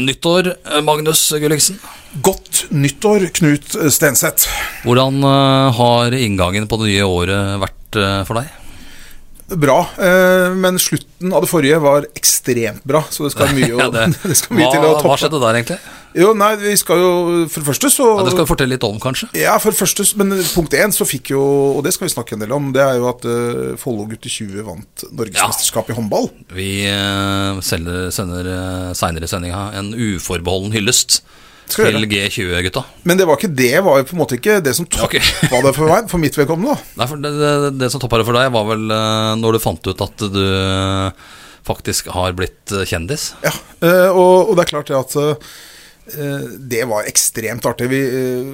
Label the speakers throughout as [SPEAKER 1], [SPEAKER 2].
[SPEAKER 1] nyttår, eh, Magnus Gulliksen.
[SPEAKER 2] Godt nyttår, Knut Stenseth.
[SPEAKER 1] Hvordan eh, har inngangen på det nye året vært eh, for deg?
[SPEAKER 2] Bra. eh, Men slutten av det forrige var ekstremt bra, så det skal mye, å,
[SPEAKER 1] Ja,
[SPEAKER 2] det,
[SPEAKER 1] det-
[SPEAKER 2] skal mye til å
[SPEAKER 1] hva, hva
[SPEAKER 2] toppe.
[SPEAKER 1] skjedde der, egentlig?
[SPEAKER 2] Jo, nei, vi skal jo For det første så
[SPEAKER 1] Ja, det skal du fortelle litt om, kanskje.
[SPEAKER 2] Ja, for det første, men punkt én så fikk jo, og det skal vi snakke en del om, det er jo at uh, Follo gutter 20 vant norgesmesterskapet i håndball.
[SPEAKER 1] Vi eh, selger, sender eh, seinere i sendinga en uforbeholden hyllest
[SPEAKER 2] Skal
[SPEAKER 1] til G20-gutta.
[SPEAKER 2] Men det var ikke det, var jo på en måte ikke det som toppa
[SPEAKER 1] Ok.
[SPEAKER 2] det for meg, for mitt vedkommende. da.
[SPEAKER 1] Nei, for det, det, det som toppa det for deg, var vel eh, når du fant ut at du eh, faktisk har blitt eh, kjendis.
[SPEAKER 2] Ja, eh, og, og det er klart det at eh, det var ekstremt artig. Vi, eh,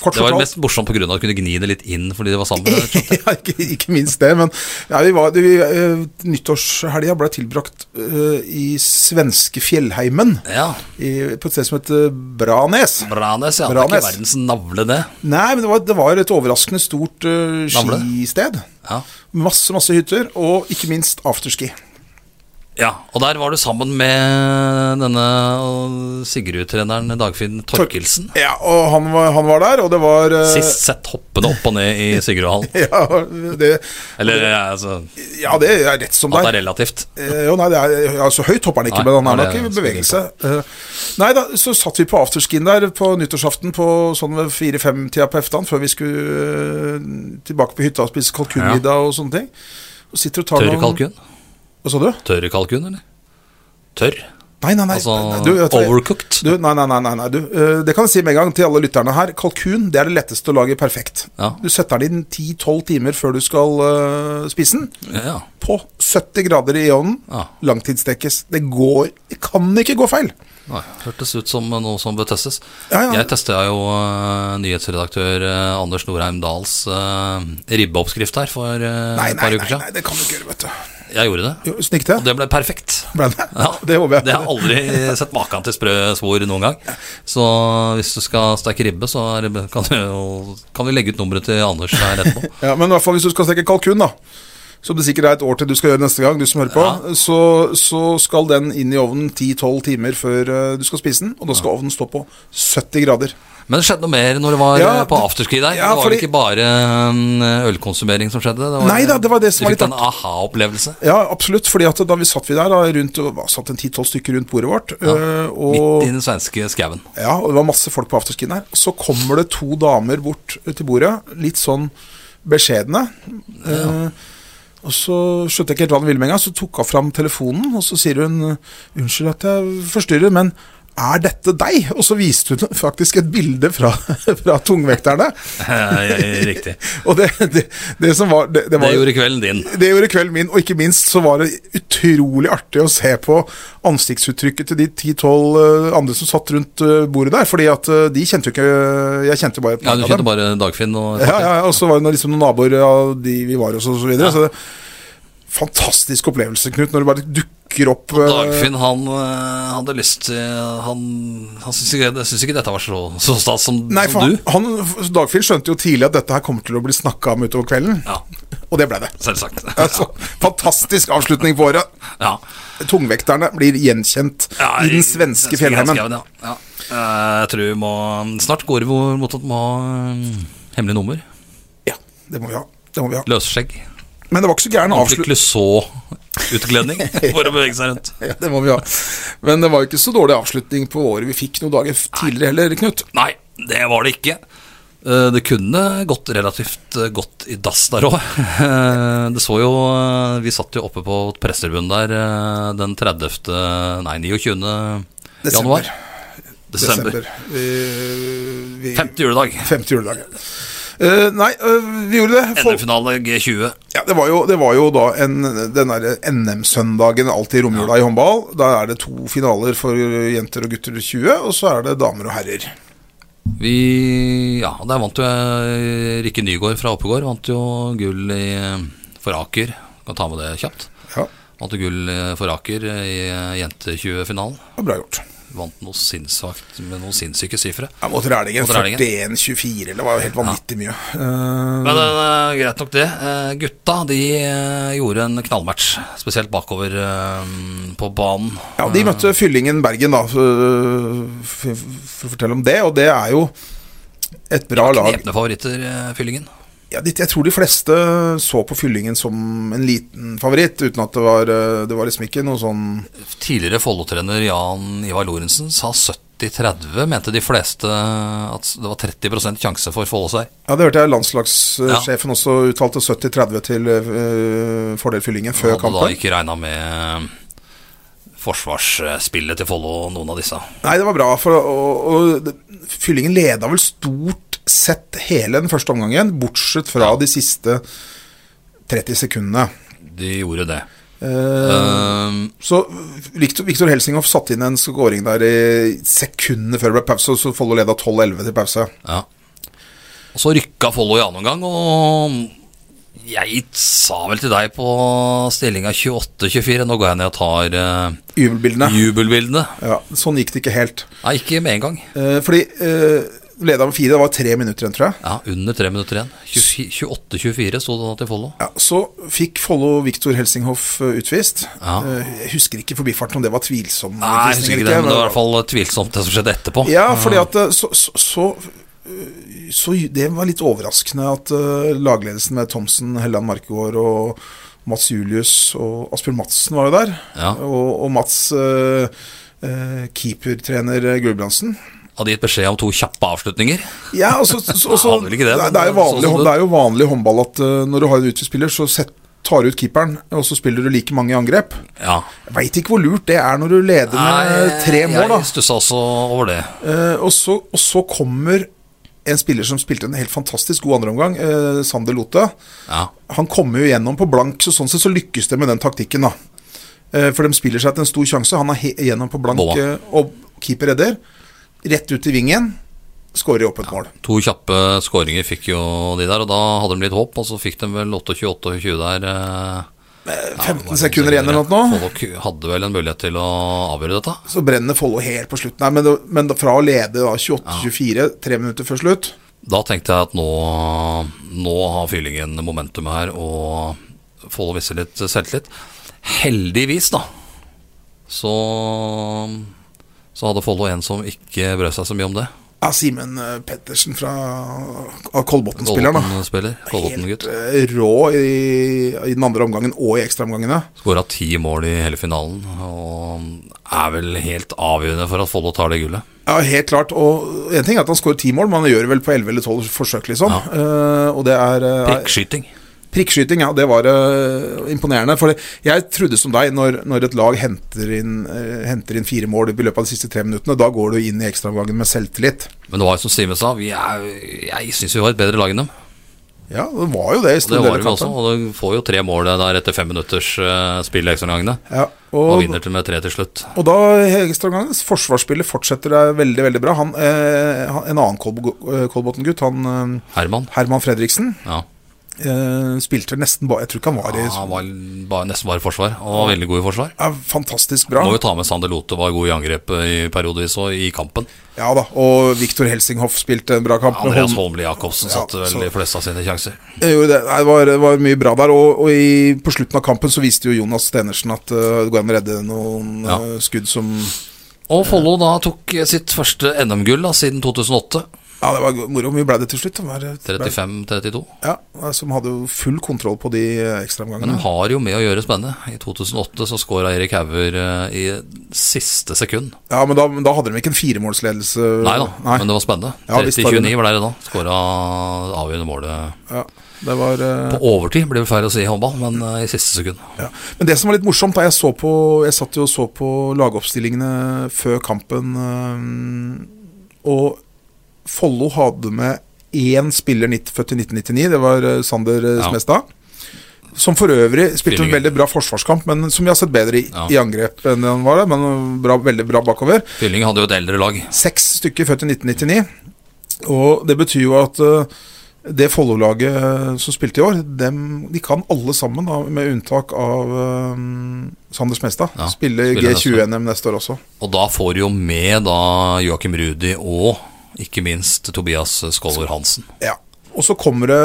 [SPEAKER 2] kort
[SPEAKER 1] Det var
[SPEAKER 2] fortalt-
[SPEAKER 1] mest morsomt pga. at du kunne gni det litt inn fordi det var sammen. skjønte jeg.
[SPEAKER 2] ja, ikke, ikke minst det, men ja, vi var, vi, eh, nyttårshelga ble tilbrakt eh, i svenske fjellheimen,
[SPEAKER 1] Ja,
[SPEAKER 2] i, på et sted som heter Branes.
[SPEAKER 1] Branes, ja. Det er
[SPEAKER 2] Branes.
[SPEAKER 1] ikke verdens navle, det.
[SPEAKER 2] Nei, men det var, det var et overraskende stort eh,
[SPEAKER 1] Navle?
[SPEAKER 2] skisted.
[SPEAKER 1] Ja.
[SPEAKER 2] Masse, masse hytter, og ikke minst afterski.
[SPEAKER 1] Ja, og der var du sammen med denne Sigrud-treneren Dagfinn Torkelsen.
[SPEAKER 2] Ja, og han var, han var der, og det var eh,
[SPEAKER 1] Sist sett hoppende opp og ned i Sigrud-hallen.
[SPEAKER 2] Ja, det,
[SPEAKER 1] Eller eh, altså,
[SPEAKER 2] ja, det er rett som
[SPEAKER 1] at det
[SPEAKER 2] det er.
[SPEAKER 1] er relativt.
[SPEAKER 2] Eh, Jo, nei, det er, ja, så høyt hopper han ikke,
[SPEAKER 1] Nei,
[SPEAKER 2] men han
[SPEAKER 1] nei,
[SPEAKER 2] er
[SPEAKER 1] det
[SPEAKER 2] nok i
[SPEAKER 1] spiller
[SPEAKER 2] bevegelse. Eh, Nei da, så satt vi på afterskien der på nyttårsaften på sånn ved fire-fem-tida på eftan, før vi skulle eh, tilbake på hytta og spise kalkunmiddag og sånne ting. Og sitter og tar
[SPEAKER 1] Tørr
[SPEAKER 2] noen-
[SPEAKER 1] kalkun?
[SPEAKER 2] Hva sa du?
[SPEAKER 1] Tørr kalkun, eller? Tørr?
[SPEAKER 2] Nei, nei, nei.
[SPEAKER 1] Altså
[SPEAKER 2] nei, du, vet du hva?
[SPEAKER 1] overcooked?
[SPEAKER 2] Du, nei, nei, nei, nei, nei du. Eh, Det kan jeg si med en gang til alle lytterne her. Kalkun det er det letteste å lage perfekt.
[SPEAKER 1] Ja.
[SPEAKER 2] Du setter den inn 10-12 timer før du skal eh, spise den.
[SPEAKER 1] Ja.
[SPEAKER 2] På 70 grader i ovnen.
[SPEAKER 1] Ja.
[SPEAKER 2] Langtidsstekes. Det går Det kan ikke gå feil.
[SPEAKER 1] Nei, hørtes ut som noe som bør testes.
[SPEAKER 2] Ja, ja.
[SPEAKER 1] Jeg testa jo eh, nyhetsredaktør eh, Anders Norheim Dahls eh, ribbeoppskrift her for eh,
[SPEAKER 2] Nei,
[SPEAKER 1] et
[SPEAKER 2] nei,
[SPEAKER 1] par
[SPEAKER 2] nei,
[SPEAKER 1] uker
[SPEAKER 2] nei,
[SPEAKER 1] siden.
[SPEAKER 2] det kan du ikke gjøre, vet du.
[SPEAKER 1] Jeg gjorde det,
[SPEAKER 2] Jo, Snikk det.
[SPEAKER 1] og det ble perfekt.
[SPEAKER 2] Ble det?
[SPEAKER 1] Ja,
[SPEAKER 2] det håper jeg.
[SPEAKER 1] Det har jeg aldri sett maken til sprø svor noen gang. Så hvis du skal steke ribbe, så er det, kan, du, jo- kan vi legge ut nummeret til Anders her etterpå.
[SPEAKER 2] Ja, men i hvert fall hvis du skal steke kalkun, da. Som det sikkert er et år til du skal gjøre neste gang, du som hører på.
[SPEAKER 1] Ja.
[SPEAKER 2] Så, så skal den inn i ovnen 10-12 timer før eh, du skal spise den. Og da skal ovnen stå på 70 grader.
[SPEAKER 1] Men det skjedde noe mer når det var
[SPEAKER 2] Ja,
[SPEAKER 1] eh, på
[SPEAKER 2] det-
[SPEAKER 1] afterski der.
[SPEAKER 2] ja,
[SPEAKER 1] det var
[SPEAKER 2] fordi-
[SPEAKER 1] vel ikke bare mm, ølkonsumering som skjedde? Det var,
[SPEAKER 2] Nei da, det var det som
[SPEAKER 1] du
[SPEAKER 2] var
[SPEAKER 1] fikk
[SPEAKER 2] litt
[SPEAKER 1] en aha-opplevelse.
[SPEAKER 2] Ja, absolutt. fordi at da vi satt vi der, da, rundt, hva, satt en 10-12 stykker rundt bordet vårt. øh,
[SPEAKER 1] Midt i
[SPEAKER 2] og,
[SPEAKER 1] den svenske skauen.
[SPEAKER 2] ja, og det var masse folk på afterskin her. Så kommer det to damer bort til bordet, litt sånn beskjedne. øh, og så skjønte jeg ikke helt hva hun ville med en gang, så tok hun fram telefonen, og så sier hun Unnskyld at jeg forstyrrer, men er dette deg? Og så viste hun faktisk et bilde fra, fra tungvekterne.
[SPEAKER 1] Riktig.
[SPEAKER 2] Og det, det, det som var Det, det var
[SPEAKER 1] Det gjorde kvelden din.
[SPEAKER 2] det gjorde kvelden min, og ikke minst så var det utrolig artig å se på ansiktsuttrykket til de 10-12 andre som satt rundt eh, bordet der, fordi at eh, de kjente jo ikke Jeg kjente bare et
[SPEAKER 1] Ja,
[SPEAKER 2] par
[SPEAKER 1] Du
[SPEAKER 2] av
[SPEAKER 1] kjente
[SPEAKER 2] dem.
[SPEAKER 1] bare Dagfinn og
[SPEAKER 2] Ja, ja, og så var det noen- liksom noen naboer av de vi var hos, og så videre.
[SPEAKER 1] Ja.
[SPEAKER 2] Så det, fantastisk opplevelse, Knut, når det bare dukker opp eh,
[SPEAKER 1] Dagfinn han eh, hadde lyst til Han, han syntes ikke, jeg synes ikke dette var så, så stas som,
[SPEAKER 2] Nei, for
[SPEAKER 1] som
[SPEAKER 2] han,
[SPEAKER 1] du.
[SPEAKER 2] han, Dagfinn skjønte jo tidlig at dette her kommer til å bli snakka om utover kvelden,
[SPEAKER 1] Ja,
[SPEAKER 2] og det ble det.
[SPEAKER 1] selvsagt.
[SPEAKER 2] Altså, fantastisk avslutning på året.
[SPEAKER 1] Ja.
[SPEAKER 2] Tungvekterne blir gjenkjent
[SPEAKER 1] Ja,
[SPEAKER 2] i den svenske fjellheimen.
[SPEAKER 1] fjellskauen, Ja. Ja. Eh, Jeg tror vi må Snart går det hvor- mot at vi må ha eh, hemmelig nummer.
[SPEAKER 2] Ja, det må vi ha. Det må vi ha.
[SPEAKER 1] Løsskjegg.
[SPEAKER 2] Men det var ikke så gæren avslutning.
[SPEAKER 1] Ordentlig så utkledning for å bevege seg rundt.
[SPEAKER 2] Ja, det må vi ha. Men det var jo ikke så dårlig avslutning på året vi fikk noen dager f- tidligere heller, Knut.
[SPEAKER 1] Nei, det var det ikke. Eh, Det kunne gått relativt eh, godt i dass der òg. Det så jo eh, Vi satt jo oppe på Presserbunnen der eh, den 30. Nei, 29. januar. Desember.
[SPEAKER 2] Vi, vi,
[SPEAKER 1] Femte juledag.
[SPEAKER 2] Femte juledag. Eh, nei, eh, vi gjorde det. Folk,
[SPEAKER 1] NM-finale G20.
[SPEAKER 2] Ja, det var jo, det var jo da en, den derre NM-søndagen alltid i romjula i håndball. Da er det to finaler for jenter og gutter 20, og så er det damer og herrer.
[SPEAKER 1] Vi Ja, der vant jo eh, Rikke Nygaard fra Oppegård. Vant jo gull i, eh, for Aker. Kan ta med det kjapt.
[SPEAKER 2] Ja,
[SPEAKER 1] Vant jo gull eh, for Aker eh, i eh, jente-20-finalen.
[SPEAKER 2] det var bra gjort.
[SPEAKER 1] Vant noe sinnssvakt med noen sinnssyke sifre.
[SPEAKER 2] Ja, mot Rælingen.
[SPEAKER 1] Mot Rælingen.
[SPEAKER 2] 41-24, eller det var jo helt vanvittig mye. Eh,
[SPEAKER 1] Men eh, greit nok det. Eh, gutta de eh, gjorde en knallmatch, spesielt bakover eh, på banen.
[SPEAKER 2] Ja, De møtte Fyllingen Bergen, da, for, for, for å fortelle om det. Og det er jo et bra lag.
[SPEAKER 1] Knepne favoritter, eh, Fyllingen.
[SPEAKER 2] Ja, de- jeg tror de fleste så på Fyllingen som en liten favoritt, uten at det var, eh, det var liksom ikke noe sånn
[SPEAKER 1] Tidligere Follo-trener Jan Ivar Lorentzen sa 70-30, mente de fleste at det var 30 sjanse for Follos her.
[SPEAKER 2] Ja, det hørte jeg landslagssjefen også uttalte 70-30 til eh, fordel Fyllingen før
[SPEAKER 1] Hadde da
[SPEAKER 2] kampen.
[SPEAKER 1] ikke regna med eh, forsvarsspillet til Follo, noen av disse.
[SPEAKER 2] Nei, det var bra, for og, og, det- Fyllingen leda vel stort sett hele den første omgangen, bortsett fra de siste 30 sekundene.
[SPEAKER 1] De gjorde det.
[SPEAKER 2] Eh,
[SPEAKER 1] Ehm,
[SPEAKER 2] Så Viktor, Viktor Helsinghoff satte inn en skåring der i sekundene før det ble pause, og så Follo leda 12-11 til pause.
[SPEAKER 1] ja. Og så rykka Follo i annen omgang, og jeg sa vel til deg på stillinga 28-24 Nå går jeg ned og tar eh,
[SPEAKER 2] Jubelbildene.
[SPEAKER 1] jubelbildene.
[SPEAKER 2] Ja, sånn gikk det ikke helt.
[SPEAKER 1] Nei, ikke med en gang.
[SPEAKER 2] Eh, fordi eh, leda med fire, det var tre minutter igjen, tror jeg.
[SPEAKER 1] Ja, Under tre minutter igjen. 28-24 sto det da til Follo.
[SPEAKER 2] Ja, så fikk Follo Viktor Helsinghoff eh, utvist.
[SPEAKER 1] Ja.
[SPEAKER 2] Eh, jeg husker ikke i forbifarten om det var tvilsom.
[SPEAKER 1] Nei, jeg husker ikke det, men det var i hvert fall tvilsomt det som skjedde etterpå.
[SPEAKER 2] Ja, fordi at eh, så, så, så eh, så det var litt overraskende at eh, lagledelsen med Thomsen, Helland Markegård og Mats Julius og Asbjørn Madsen var jo der.
[SPEAKER 1] Ja.
[SPEAKER 2] Og, og Mats, eh, eh, keepertrener eh, Gulbrandsen.
[SPEAKER 1] Hadde gitt beskjed om to kjappe avslutninger.
[SPEAKER 2] Ja, og så- så- og så-
[SPEAKER 1] Han hadde vel ikke det,
[SPEAKER 2] det,
[SPEAKER 1] men
[SPEAKER 2] er jo vanlig,
[SPEAKER 1] sånn som det-
[SPEAKER 2] det er jo vanlig i håndball at eh, når du har en utespiller, så sett, tar du ut keeperen, og så spiller du like mange i angrep.
[SPEAKER 1] Ja.
[SPEAKER 2] Jeg veit ikke hvor lurt det er når du leder med
[SPEAKER 1] Nei,
[SPEAKER 2] tre mål, da.
[SPEAKER 1] Jeg stussa også over det.
[SPEAKER 2] Eh, og, så, og så kommer en spiller som spilte en helt fantastisk god andreomgang, eh, Sander Lote.
[SPEAKER 1] Ja.
[SPEAKER 2] Han kommer jo gjennom på blank, så sånn sett så lykkes det med den taktikken, da. Eh, for de spiller seg til en stor sjanse. Han er he gjennom på blank,
[SPEAKER 1] Bomma.
[SPEAKER 2] eh, og keeper redder. Rett ut i vingen, skårer i åpent mål.
[SPEAKER 1] To kjappe skåringer fikk jo de der, og da hadde de litt håp, og så fikk de vel 28-28 der. eh,
[SPEAKER 2] 15
[SPEAKER 1] var det
[SPEAKER 2] sekunder
[SPEAKER 1] noe
[SPEAKER 2] igjen eller noe. nå.
[SPEAKER 1] Follo ku- hadde vel en mulighet til å avgjøre dette.
[SPEAKER 2] Så brenner Follo helt på slutten her, men, det- men da- fra å lede da 28-24, tre minutter før slutt
[SPEAKER 1] Da tenkte jeg at nå, nå har fyllingen momentum her, og Follo viser litt selvtillit. Heldigvis, da, så, så hadde Follo en som ikke brød seg så mye om det.
[SPEAKER 2] Ja, Simen eh, Pettersen fra av Kolbotn-spilleren, da.
[SPEAKER 1] Kolbotn-spiller.
[SPEAKER 2] Helt
[SPEAKER 1] Kolbotn-gutt.
[SPEAKER 2] eh, rå i, i den andre omgangen og i ekstraomgangene.
[SPEAKER 1] Skåra ti mål i hele finalen, og er vel helt avgjørende for at Follo tar det gullet.
[SPEAKER 2] Ja, helt klart. Og en ting er at han skårer ti mål, men han gjør det vel på 11 eller 12 forsøk, liksom. Eh, og det er eh,
[SPEAKER 1] Prikkskyting.
[SPEAKER 2] Prikkskyting, ja. Det var eh, imponerende. For det- jeg trodde som deg, når, når et lag henter inn, eh, henter inn fire mål i løpet av de siste tre minuttene, da går du inn i ekstraomgangen med selvtillit.
[SPEAKER 1] Men det var jo som Simen sa, vi er, jeg syns vi var et bedre lag enn dem.
[SPEAKER 2] Ja, det var jo det.
[SPEAKER 1] Og
[SPEAKER 2] i
[SPEAKER 1] det
[SPEAKER 2] store
[SPEAKER 1] var altså.
[SPEAKER 2] deler
[SPEAKER 1] vi
[SPEAKER 2] av
[SPEAKER 1] også,
[SPEAKER 2] kampen.
[SPEAKER 1] og du får jo tre mål der etter fem minutters eh, spill i ekstraomgangene.
[SPEAKER 2] Ja,
[SPEAKER 1] Og
[SPEAKER 2] og,
[SPEAKER 1] vinner til med tre til slutt.
[SPEAKER 2] og da ekstraomgangen Forsvarsspillet fortsetter der veldig, veldig bra. Han, eh, han, en annen Kolbo- Kolbotn-gutt, han eh,
[SPEAKER 1] Herman.
[SPEAKER 2] Herman Fredriksen,
[SPEAKER 1] Ja.
[SPEAKER 2] eh, spilte nesten bare Jeg tror ikke han var i
[SPEAKER 1] Han var bare, nesten bare i forsvar, og var veldig god i forsvar.
[SPEAKER 2] er fantastisk bra.
[SPEAKER 1] Må jo ta med Sander Lote, var god i angrepet i periodevis, og i kampen.
[SPEAKER 2] Ja da, og Viktor Helsinghoff spilte en bra kamp. med
[SPEAKER 1] Andreas
[SPEAKER 2] Holm.
[SPEAKER 1] Holmli Jacobsen
[SPEAKER 2] Ja,
[SPEAKER 1] satte
[SPEAKER 2] så-
[SPEAKER 1] vel de fleste av sine sjanser.
[SPEAKER 2] Eh, jo, det nei, det var, det var mye bra der, og, og i, på slutten av kampen så viste jo Jonas Stenersen at eh, det går an å redde noen
[SPEAKER 1] Ja.
[SPEAKER 2] eh, skudd som
[SPEAKER 1] Og Follo da tok sitt første NM-gull da, siden 2008.
[SPEAKER 2] Ja, det var moro. Hvor mye ble det til slutt? Det var, eh,
[SPEAKER 1] 35-32.
[SPEAKER 2] Ja, Som hadde jo full kontroll på de eh,
[SPEAKER 1] Men de
[SPEAKER 2] ekstraomgangene.
[SPEAKER 1] har jo med å gjøre spennende. I 2008 så skåra Erik Hauger eh, i siste sekund.
[SPEAKER 2] Ja, men da, men da hadde de ikke en firemålsledelse.
[SPEAKER 1] Nei da, men det var spennende.
[SPEAKER 2] Ja, visst var det
[SPEAKER 1] 30-29 var det da. Skåra avgjørende målet
[SPEAKER 2] Ja, det var, eh,
[SPEAKER 1] på overtid, blir det feil å si i håndball, men eh, i siste sekund.
[SPEAKER 2] ja. Men det som var litt morsomt, da jeg så på Jeg satt jo og så på lagoppstillingene før kampen, eh, og Follo hadde med én spiller nitt- født i 1999, det var eh, Sander eh,
[SPEAKER 1] Ja.
[SPEAKER 2] Smestad. Som for øvrig spilte en
[SPEAKER 1] Fyllingen.
[SPEAKER 2] veldig bra forsvarskamp, men som vi har sett bedre i,
[SPEAKER 1] Ja.
[SPEAKER 2] i angrep enn han var, men bra, veldig bra bakover.
[SPEAKER 1] Fylling hadde jo et eldre lag.
[SPEAKER 2] Seks stykker født i 1999. Og det betyr jo at eh, det Follo-laget eh, som spilte i år, dem, de kan alle sammen, da, med unntak av eh, Sander Smestad,
[SPEAKER 1] Ja,
[SPEAKER 2] spille
[SPEAKER 1] spiller neste år.
[SPEAKER 2] G20-NM neste år også.
[SPEAKER 1] Og da får du jo med da Joakim Rudi og ikke minst Tobias Skolver Hansen.
[SPEAKER 2] Ja. Og så kommer det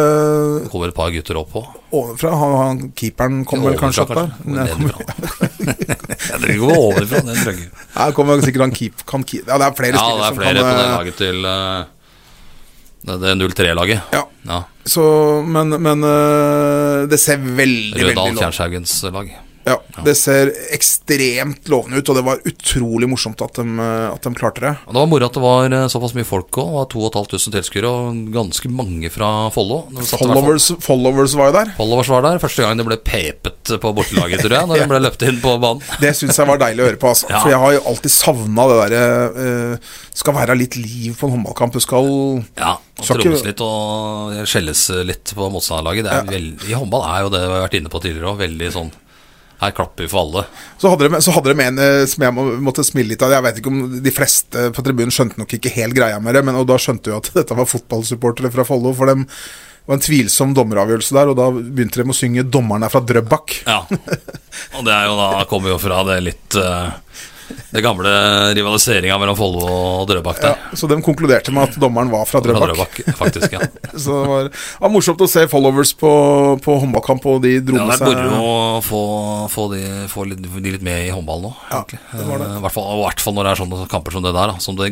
[SPEAKER 1] Det kommer et par gutter opp på.
[SPEAKER 2] ovenfra. Han, han, keeperen kommer vel kanskje opp der? Nei, kommer-
[SPEAKER 1] Jeg trenger ikke gå overfra. Den trenger ikke.
[SPEAKER 2] Nei, kommer sikkert han keep, kan keep. Ja, det er flere
[SPEAKER 1] Ja, det
[SPEAKER 2] spillere
[SPEAKER 1] er flere
[SPEAKER 2] som
[SPEAKER 1] på
[SPEAKER 2] kan
[SPEAKER 1] det
[SPEAKER 2] eh,
[SPEAKER 1] laget til eh, det, det 03-laget.
[SPEAKER 2] Ja,
[SPEAKER 1] Ja.
[SPEAKER 2] så, men, men eh, det ser veldig, veldig
[SPEAKER 1] Rødal
[SPEAKER 2] lovende
[SPEAKER 1] Kjærshaugens lag.
[SPEAKER 2] Ja, det ser ekstremt lovende ut, og det var utrolig morsomt at de, eh, at de klarte det.
[SPEAKER 1] Og Det var moro at det var eh, såpass mye folk òg. 2500 tilskuere og ganske mange fra Follo. Det satte i hvert fall-
[SPEAKER 2] Followers, followers var jo der.
[SPEAKER 1] Followers var der. Første gang det ble pepet på bortelaget, tror jeg, når de ble løpt inn på banen.
[SPEAKER 2] Det syns jeg var deilig å høre på, altså.
[SPEAKER 1] Ja.
[SPEAKER 2] For jeg har jo alltid savna det derre eh, Skal være litt liv på en håndballkamp. Du skal
[SPEAKER 1] Ja, og
[SPEAKER 2] Skal ikke-
[SPEAKER 1] trommes litt og skjelles litt på motstanderlaget. Det er veld- I håndball er jo det vi har vært inne på tidligere òg, veldig sånn her klapper vi for alle.
[SPEAKER 2] Så hadde de, så hadde de en eh, som jeg må, måtte smile litt av. Jeg vet ikke om de fleste på tribunen skjønte nok ikke helt greia med det, men og da skjønte jo at dette var fotballsupportere fra Follo, for dem det var en tvilsom dommeravgjørelse der, og da begynte de å synge 'Dommeren er fra Drøbak'.
[SPEAKER 1] Ja. Og det er jo da kommer jo fra det litt eh, Det gamle rivaliseringa mellom Follo og Drøbak
[SPEAKER 2] Ja,
[SPEAKER 1] der.
[SPEAKER 2] så de konkluderte med at dommeren var fra
[SPEAKER 1] Fra
[SPEAKER 2] Drøbak.
[SPEAKER 1] Drøbak, faktisk. Ja.
[SPEAKER 2] Så det var, det var morsomt å se followers på, på håndballkamp, og de dro
[SPEAKER 1] Det
[SPEAKER 2] med
[SPEAKER 1] hadde
[SPEAKER 2] seg
[SPEAKER 1] vært moro å få, få, de, få litt, de litt med i håndball nå.
[SPEAKER 2] Ja,
[SPEAKER 1] egentlig.
[SPEAKER 2] det var det.
[SPEAKER 1] Eh, i hvert fall- Og i hvert fall når det er sånne kamper som det der, da, som det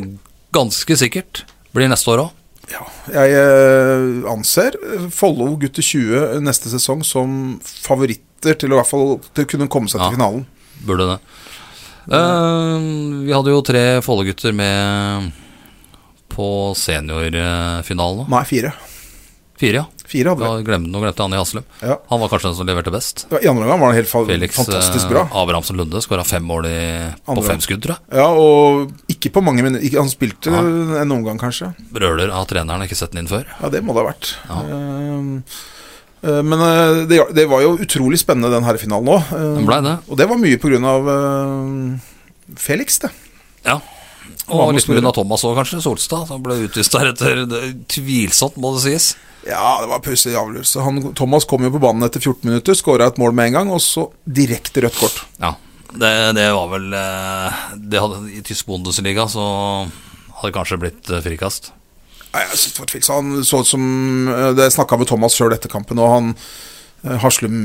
[SPEAKER 1] ganske sikkert blir neste år òg.
[SPEAKER 2] Ja, jeg eh, anser Follo gutter 20 neste sesong som favoritter til å, i hvert fall, til å kunne komme seg
[SPEAKER 1] Ja.
[SPEAKER 2] til finalen.
[SPEAKER 1] Burde det. Eh, vi hadde jo tre Follo-gutter med på seniorfinalen. nå.
[SPEAKER 2] Nei, fire.
[SPEAKER 1] Fire, ja.
[SPEAKER 2] Fire hadde
[SPEAKER 1] Da
[SPEAKER 2] vi.
[SPEAKER 1] glemte, nå glemte jeg Anne Haslum.
[SPEAKER 2] Ja.
[SPEAKER 1] Han var kanskje den som leverte best.
[SPEAKER 2] Ja, I andre omgang var han helt fa
[SPEAKER 1] Felix
[SPEAKER 2] fantastisk
[SPEAKER 1] eh,
[SPEAKER 2] bra.
[SPEAKER 1] Abrahamsen Lunde skåra fem mål i, på
[SPEAKER 2] Andre.
[SPEAKER 1] fem skudd, tror jeg.
[SPEAKER 2] Ja, og ikke på mange minutter. Ikke- Han spilte
[SPEAKER 1] Ja.
[SPEAKER 2] en omgang, kanskje.
[SPEAKER 1] Brøler av treneren, ikke sett den inn før.
[SPEAKER 2] Ja, det må det ha vært.
[SPEAKER 1] Ja.
[SPEAKER 2] Ehm, eh, men eh, det, det var jo utrolig spennende, den herrefinalen Eh, òg.
[SPEAKER 1] Den blei det.
[SPEAKER 2] og det var mye på grunn av eh, Felix, det.
[SPEAKER 1] Ja.
[SPEAKER 2] Hva
[SPEAKER 1] Og
[SPEAKER 2] med
[SPEAKER 1] litt
[SPEAKER 2] Snorre?
[SPEAKER 1] pga. Thomas òg, kanskje. Solstad. Han ble utvist deretter. Det er Tvilsomt, må det sies.
[SPEAKER 2] Ja, det var pussig avgjørelse. Han- Thomas kom jo på banen etter 14 minutter, skåra et mål med en gang, og så direkte rødt kort.
[SPEAKER 1] Ja, det, det var vel eh, det hadde, I tysk Bundesliga så hadde det kanskje blitt eh, frikast.
[SPEAKER 2] Nei, jeg synes det var tvilsomt. Han så ut som eh, Det snakka med Thomas sjøl etter kampen, og han eh,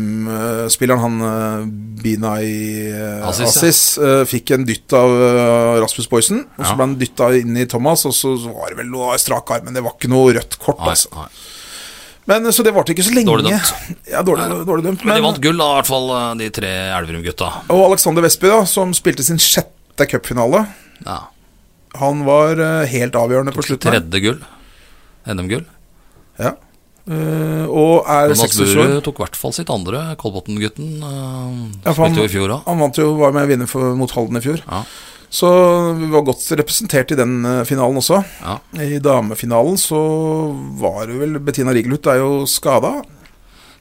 [SPEAKER 2] Haslum-spilleren, han eh, Binai eh,
[SPEAKER 1] Assis, ja.
[SPEAKER 2] Assis, eh, fikk en dytt av eh, Rasmus Boysen. Og
[SPEAKER 1] Ja.
[SPEAKER 2] så ble han dytta inn i Thomas, og så var det vel noe strak arm, men det var ikke noe rødt kort.
[SPEAKER 1] Nei,
[SPEAKER 2] Altså.
[SPEAKER 1] nei.
[SPEAKER 2] Men eh, Så det varte ikke så lenge.
[SPEAKER 1] Dårlig dømt.
[SPEAKER 2] Ja, dårlig, dårlig dømt.
[SPEAKER 1] Men de vant gull, da, i hvert fall eh, de tre Elverum-gutta.
[SPEAKER 2] og Alexander Vestby, da, som spilte sin sjette cupfinale.
[SPEAKER 1] Ja.
[SPEAKER 2] Han var eh, helt avgjørende på slutten. her.
[SPEAKER 1] Tredje gull. NM-gull.
[SPEAKER 2] Ja. Eh, og er
[SPEAKER 1] Jonas
[SPEAKER 2] 26 år.
[SPEAKER 1] Burud tok i hvert fall sitt andre. Kolbotn-gutten eh,
[SPEAKER 2] Ja, for
[SPEAKER 1] spilte jo i fjor òg.
[SPEAKER 2] Han vant jo, var med å vinne for, mot Halden i fjor.
[SPEAKER 1] Ja.
[SPEAKER 2] Så vi var godt representert i den eh, finalen også.
[SPEAKER 1] Ja.
[SPEAKER 2] I damefinalen så var det vel Bettina Rigelhut er jo skada.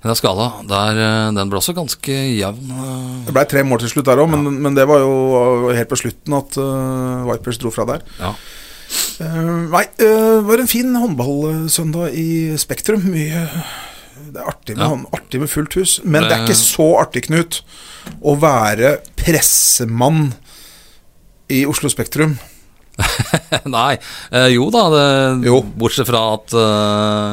[SPEAKER 1] Den er skada. Der, eh, den ble også ganske jevn. eh,
[SPEAKER 2] Det ble tre mål til slutt der òg, men, men det var jo eh, helt på slutten at eh, Vipers dro fra der.
[SPEAKER 1] Ja.
[SPEAKER 2] Eh, nei, eh, det var en fin håndballsøndag i Spektrum. Mye Det er artig med,
[SPEAKER 1] Ja.
[SPEAKER 2] hånd- artig med fullt hus. Men det... er
[SPEAKER 1] Det-
[SPEAKER 2] ikke så artig, Knut, å være pressemann i Oslo Spektrum.
[SPEAKER 1] Nei. Eh, jo da, det,
[SPEAKER 2] Jo.
[SPEAKER 1] bortsett fra at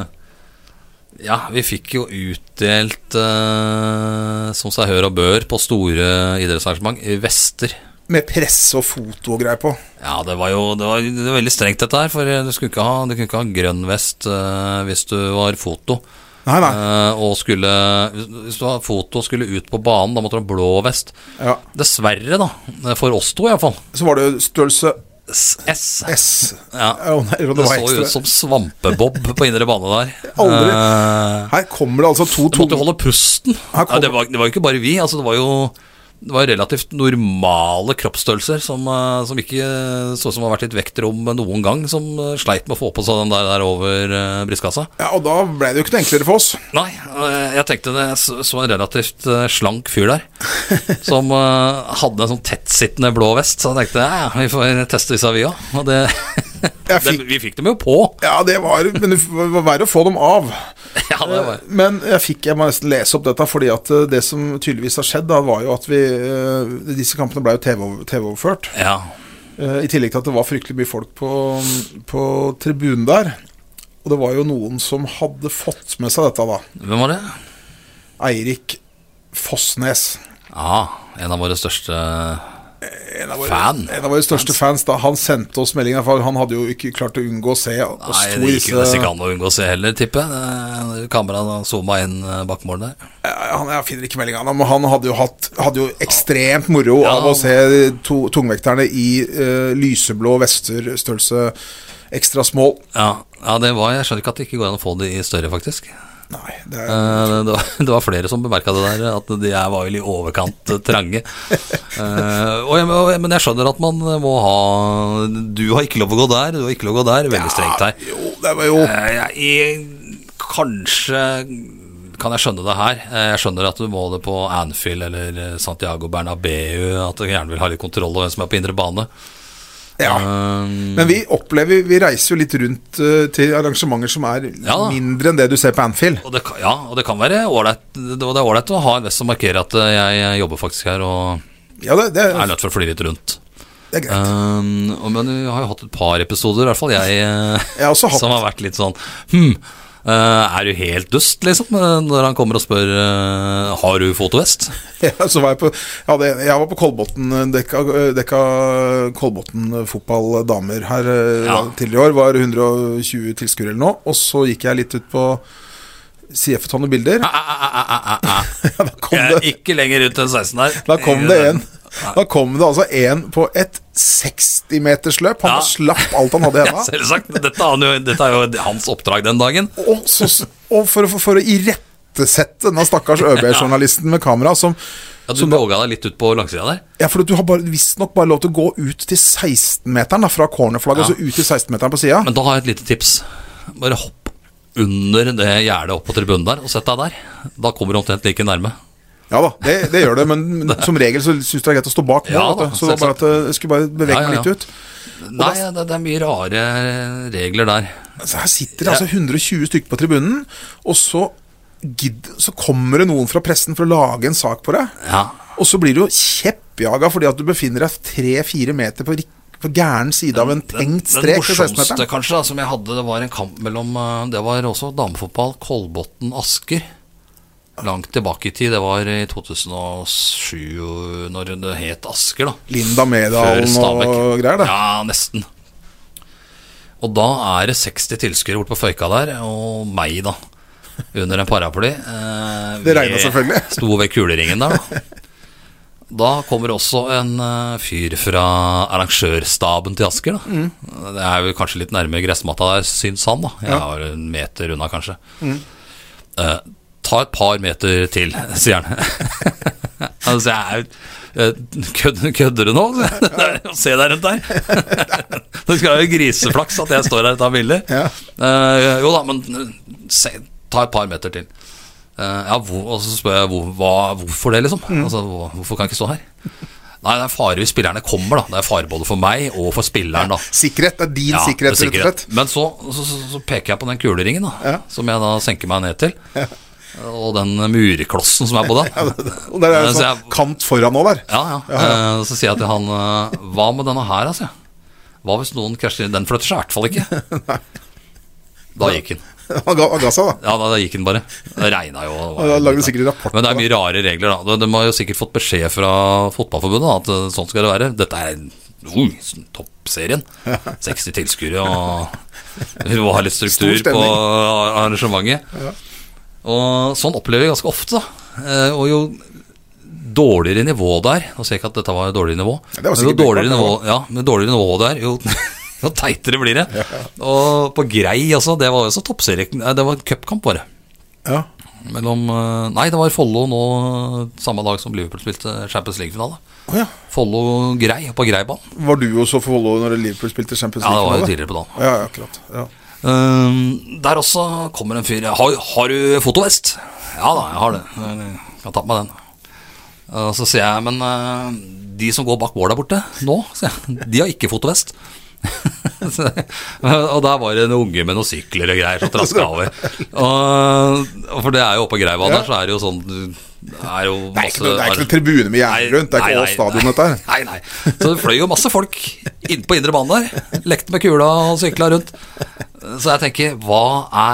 [SPEAKER 1] eh, Ja, vi fikk jo utdelt, eh, som seg hør og bør, på store idrettsarrangement, i vester.
[SPEAKER 2] Med presse og foto og greier på.
[SPEAKER 1] Ja, det var jo det var, det var veldig strengt, dette her. For eh, du skulle ikke ha, du kunne ikke ha grønn vest eh, hvis du var foto.
[SPEAKER 2] Nei, nei.
[SPEAKER 1] Eh, og skulle hvis- Hvis du var foto og skulle ut på banen, da måtte du ha blå vest.
[SPEAKER 2] Ja.
[SPEAKER 1] Dessverre, da. For oss to, iallfall.
[SPEAKER 2] Så var det jo størrelse
[SPEAKER 1] S.
[SPEAKER 2] S.
[SPEAKER 1] Ja.
[SPEAKER 2] Å, nei,
[SPEAKER 1] Det
[SPEAKER 2] og det var
[SPEAKER 1] så ut
[SPEAKER 2] ekstra.
[SPEAKER 1] som svampebob på indre bane der.
[SPEAKER 2] Aldri.
[SPEAKER 1] Eh,
[SPEAKER 2] Her kommer det altså to
[SPEAKER 1] måtte jo
[SPEAKER 2] tunge
[SPEAKER 1] holde pusten.
[SPEAKER 2] Her
[SPEAKER 1] Ja,
[SPEAKER 2] kom-
[SPEAKER 1] det, var, det var jo ikke bare vi. Altså, det var jo det var relativt normale kroppsstørrelser som, eh, som ikke eh, så ut som det har vært i et vektrom noen gang, som eh, sleit med å få på seg den der, der over eh, brystkassa.
[SPEAKER 2] Ja, Og da ble det jo ikke noe enklere for oss.
[SPEAKER 1] Nei, eh, jeg tenkte det. Jeg så- så en relativt eh, slank fyr der. Som eh, hadde en sånn tettsittende blå vest. Så jeg tenkte ja, vi får teste disse, vi òg. Og det,
[SPEAKER 2] Jeg
[SPEAKER 1] det,
[SPEAKER 2] fikk-
[SPEAKER 1] vi fikk dem jo på.
[SPEAKER 2] Ja, det var Men det var verre å få dem av.
[SPEAKER 1] Ja, det var
[SPEAKER 2] Eh, Men jeg fikk Jeg må nesten lese opp dette, fordi at eh, det som tydeligvis har skjedd, da, var jo at vi eh, Disse kampene ble jo TV-over- TV-overført.
[SPEAKER 1] ja.
[SPEAKER 2] Eh, I tillegg til at det var fryktelig mye folk på, på tribunen der. Og det var jo noen som hadde fått med seg dette, da.
[SPEAKER 1] Hvem var det?
[SPEAKER 2] Eirik Fossnes.
[SPEAKER 1] Ja, en av våre største
[SPEAKER 2] En av våre,
[SPEAKER 1] Fan.
[SPEAKER 2] En av våre største fans. da Han sendte oss meldinger, for han hadde jo ikke klart å unngå å se oss
[SPEAKER 1] Nei,
[SPEAKER 2] to
[SPEAKER 1] det
[SPEAKER 2] i
[SPEAKER 1] gikk jo nesten
[SPEAKER 2] disse
[SPEAKER 1] ikke an å unngå å se heller, tipper jeg. Kameraet zooma inn eh, bak målet der.
[SPEAKER 2] Eh, han, Jeg finner ikke meldinga, men han hadde jo, hatt, hadde jo ekstremt moro
[SPEAKER 1] Ja.
[SPEAKER 2] av å se to, tungvekterne i eh, lyseblå vester, størrelse ekstra small.
[SPEAKER 1] Ja, ja, det var Jeg skjønner ikke at det ikke går an å få de i større, faktisk.
[SPEAKER 2] Nei, det er
[SPEAKER 1] Eh, Det, det, var, det var flere som bemerka det der, at de er var vel i overkant eh, trange. Eh, og jeg, og jeg, men jeg skjønner at man må ha Du har ikke lov å gå der, du har ikke lov å gå der. Veldig strengt her.
[SPEAKER 2] Ja, Jo, det var jo
[SPEAKER 1] Eh, jeg, jeg, kanskje kan jeg skjønne det her. Eh, Jeg skjønner at du må det på Anfield eller eh, Santiago Bernabeu, at du gjerne vil ha litt kontroll over hvem som er på indre bane.
[SPEAKER 2] Ja.
[SPEAKER 1] Eh,
[SPEAKER 2] Men vi opplever, vi reiser jo litt rundt eh, til arrangementer som er
[SPEAKER 1] da.
[SPEAKER 2] mindre enn det du ser på Anfield.
[SPEAKER 1] og det, kan- ja, og det kan være ålreit det- det er ålreit å ha en vest som markerer at eh, jeg jobber faktisk her og
[SPEAKER 2] Ja, det, det,
[SPEAKER 1] er nødt for å fly litt rundt.
[SPEAKER 2] det er greit.
[SPEAKER 1] Um, og- men vi har jo hatt et par episoder, i hvert fall jeg, eh,
[SPEAKER 2] Jeg har også hatt-
[SPEAKER 1] som har vært litt sånn Hm, eh, er du helt dust, liksom? eh, Når han kommer og spør eh, Har du fotovest.
[SPEAKER 2] Ja, så var jeg, på, jeg, hadde, jeg var på Kolbotn, eh, dekka, eh, dekka Kolbotn eh, fotball damer her eh,
[SPEAKER 1] Ja.
[SPEAKER 2] tidligere i år. Var 120 tilskuere eller noe. Og så gikk jeg litt ut på CF-tonne bilder.
[SPEAKER 1] Æ, æ, æ, æ, æ, æ.
[SPEAKER 2] Ja, da kom
[SPEAKER 1] Jeg er
[SPEAKER 2] det,
[SPEAKER 1] ikke lenger ut enn Eh, 16 der.
[SPEAKER 2] da kom det en.
[SPEAKER 1] Nei.
[SPEAKER 2] Da kom det altså en på et 60-metersløp. Han
[SPEAKER 1] Ja.
[SPEAKER 2] slapp alt han hadde i
[SPEAKER 1] Ja,
[SPEAKER 2] henda.
[SPEAKER 1] selvsagt. Dette er, jo, dette er jo hans oppdrag den dagen.
[SPEAKER 2] Og, så, og for, å- for, for å irettesette denne stakkars ØB-journalisten med kamera som
[SPEAKER 1] Ja, du våga deg litt ut på langsida der.
[SPEAKER 2] Ja, for du har bare- visstnok bare lov til å gå ut til 16-meteren da, fra cornerflagget,
[SPEAKER 1] Ja.
[SPEAKER 2] og så ut til 16-meteren på sida.
[SPEAKER 1] Men da har jeg et lite tips. Bare hopp under det gjerdet opp på tribunen der, og sett deg der. Da kommer du omtrent like nærme.
[SPEAKER 2] Ja da, det, det gjør det, men men som regel så syns du det er greit å stå bak mål.
[SPEAKER 1] Ja
[SPEAKER 2] vet du.
[SPEAKER 1] da,
[SPEAKER 2] så det var bare at eh, jeg skulle bare bevege
[SPEAKER 1] Ja, ja,
[SPEAKER 2] meg
[SPEAKER 1] ja.
[SPEAKER 2] litt ut.
[SPEAKER 1] Nei, det, det er mye rare regler der.
[SPEAKER 2] Altså, her sitter det altså 120 stykker på tribunen, og så, gidd, så kommer det noen fra pressen for å lage en sak på deg.
[SPEAKER 1] Ja.
[SPEAKER 2] Og så blir du jo kjeppjaga fordi at du befinner deg tre-fire meter på, rik- på gæren side av en tenkt strek til
[SPEAKER 1] Den morsomste
[SPEAKER 2] 16-meteren.
[SPEAKER 1] kanskje da, som jeg hadde, det var en kamp mellom eh, Det var også damefotball, Kolbotn-Asker. Langt tilbake i tid. Det var i 2007, når det het Asker, da.
[SPEAKER 2] Linda
[SPEAKER 1] Før
[SPEAKER 2] Medalen
[SPEAKER 1] Stabæk.
[SPEAKER 2] og greier, det.
[SPEAKER 1] Ja, nesten. Og da er det 60 tilskuere borte på Føyka der, og meg, da. Under en paraply. Eh,
[SPEAKER 2] Det regnet
[SPEAKER 1] vi
[SPEAKER 2] selvfølgelig.
[SPEAKER 1] Sto ved kuleringen der, da. Da kommer også en eh, fyr fra arrangørstaben til Asker, da.
[SPEAKER 2] Mm.
[SPEAKER 1] Det er jo kanskje litt nærme gressmatta der, syns han, da. Jeg var en meter unna, kanskje.
[SPEAKER 2] Mm.
[SPEAKER 1] Eh, ta et par meter til, sier han. altså, jeg er jo eh, kødder, kødder du nå? Det er jo- Se deg rundt der. det skal være griseflaks at jeg står her og tar bilder.
[SPEAKER 2] Ja.
[SPEAKER 1] Eh, jo da, men eh, se, ta et par meter til. Eh, ja, hvor, og så spør jeg hvor, hva, hvorfor det, liksom.
[SPEAKER 2] Mm.
[SPEAKER 1] Altså, hvor, hvorfor kan jeg ikke stå her? Nei, det er fare hvis spillerne kommer, da. Det er fare både for meg og for spilleren, da.
[SPEAKER 2] Sikkerhet. Det er din sikkerhet,
[SPEAKER 1] det er
[SPEAKER 2] rett og slett.
[SPEAKER 1] Men så, så, så, så peker jeg på den kuleringen, da,
[SPEAKER 2] Ja.
[SPEAKER 1] som jeg da senker meg ned til. Og den murklossen som er på den.
[SPEAKER 2] Ja, det- Og der er det
[SPEAKER 1] Eh, så
[SPEAKER 2] sånn
[SPEAKER 1] jeg-
[SPEAKER 2] kant foran nå der.
[SPEAKER 1] ja, ja. Eh, Så sier jeg til han eh, Hva med denne her, altså? Hva hvis noen krasjer inn? Den flytter seg i hvert fall ikke. Da gikk han.
[SPEAKER 2] Han ga, han ga seg, da.
[SPEAKER 1] Ja, da, da gikk han bare. Det regna jo. og-
[SPEAKER 2] Ja, da lagde de sikkert en rapport
[SPEAKER 1] Men det
[SPEAKER 2] på
[SPEAKER 1] er mye rare regler, da. De, de har jo sikkert fått beskjed fra Fotballforbundet da, at eh, sånn skal det være. Dette er oi, sånn toppserien. 60 tilskuere og Vi må ha litt struktur
[SPEAKER 2] Stor
[SPEAKER 1] på
[SPEAKER 2] stemning.
[SPEAKER 1] arrangementet. Og sånn opplever vi ganske ofte, da. Eh, Og jo dårligere nivå der Nå ser jeg ikke at dette var dårligere nivå.
[SPEAKER 2] Ja, det var
[SPEAKER 1] men jo
[SPEAKER 2] sikkert
[SPEAKER 1] dårligere nivå,
[SPEAKER 2] bekmørkt,
[SPEAKER 1] ja, men dårligere nivå der, jo, jo teitere blir det. Og på Grei, altså. Det var jo så toppserie... Nei, det var en cupkamp, bare.
[SPEAKER 2] Ja.
[SPEAKER 1] Mellom eh, Nei, det var Follo nå samme dag som Liverpool spilte Champions League-finale.
[SPEAKER 2] Å ja.
[SPEAKER 1] Follo Grei på Greibanen.
[SPEAKER 2] Var du også for Follo når Liverpool spilte Champions
[SPEAKER 1] Ja, det var jo
[SPEAKER 2] League-finale?
[SPEAKER 1] tidligere på dagen.
[SPEAKER 2] Ja, ja, akkurat. Ja.
[SPEAKER 1] Eh, der også kommer en fyr. Har, har du fotovest? Ja da, jeg har det. Jeg kan ta på meg den. Eh, så sier jeg, men eh, de som går bak mål der borte nå, sier jeg, de har ikke fotovest. Så, og der var det en unge med noen sykler og greier som traska over. Og, og for det er jo oppe på Greiva der, så er det jo sånn Det er jo
[SPEAKER 2] Det er ikke noe- det er ikke
[SPEAKER 1] masse-
[SPEAKER 2] noen tribune med gjerde
[SPEAKER 1] Altså, Nei,
[SPEAKER 2] rundt, det er ikke
[SPEAKER 1] nei,
[SPEAKER 2] Ås stadion,
[SPEAKER 1] nei,
[SPEAKER 2] dette her.
[SPEAKER 1] Nei, nei. Så det fløy jo masse folk inn på indre bane der. Lekte med kula og sykla rundt. Så jeg tenker, hva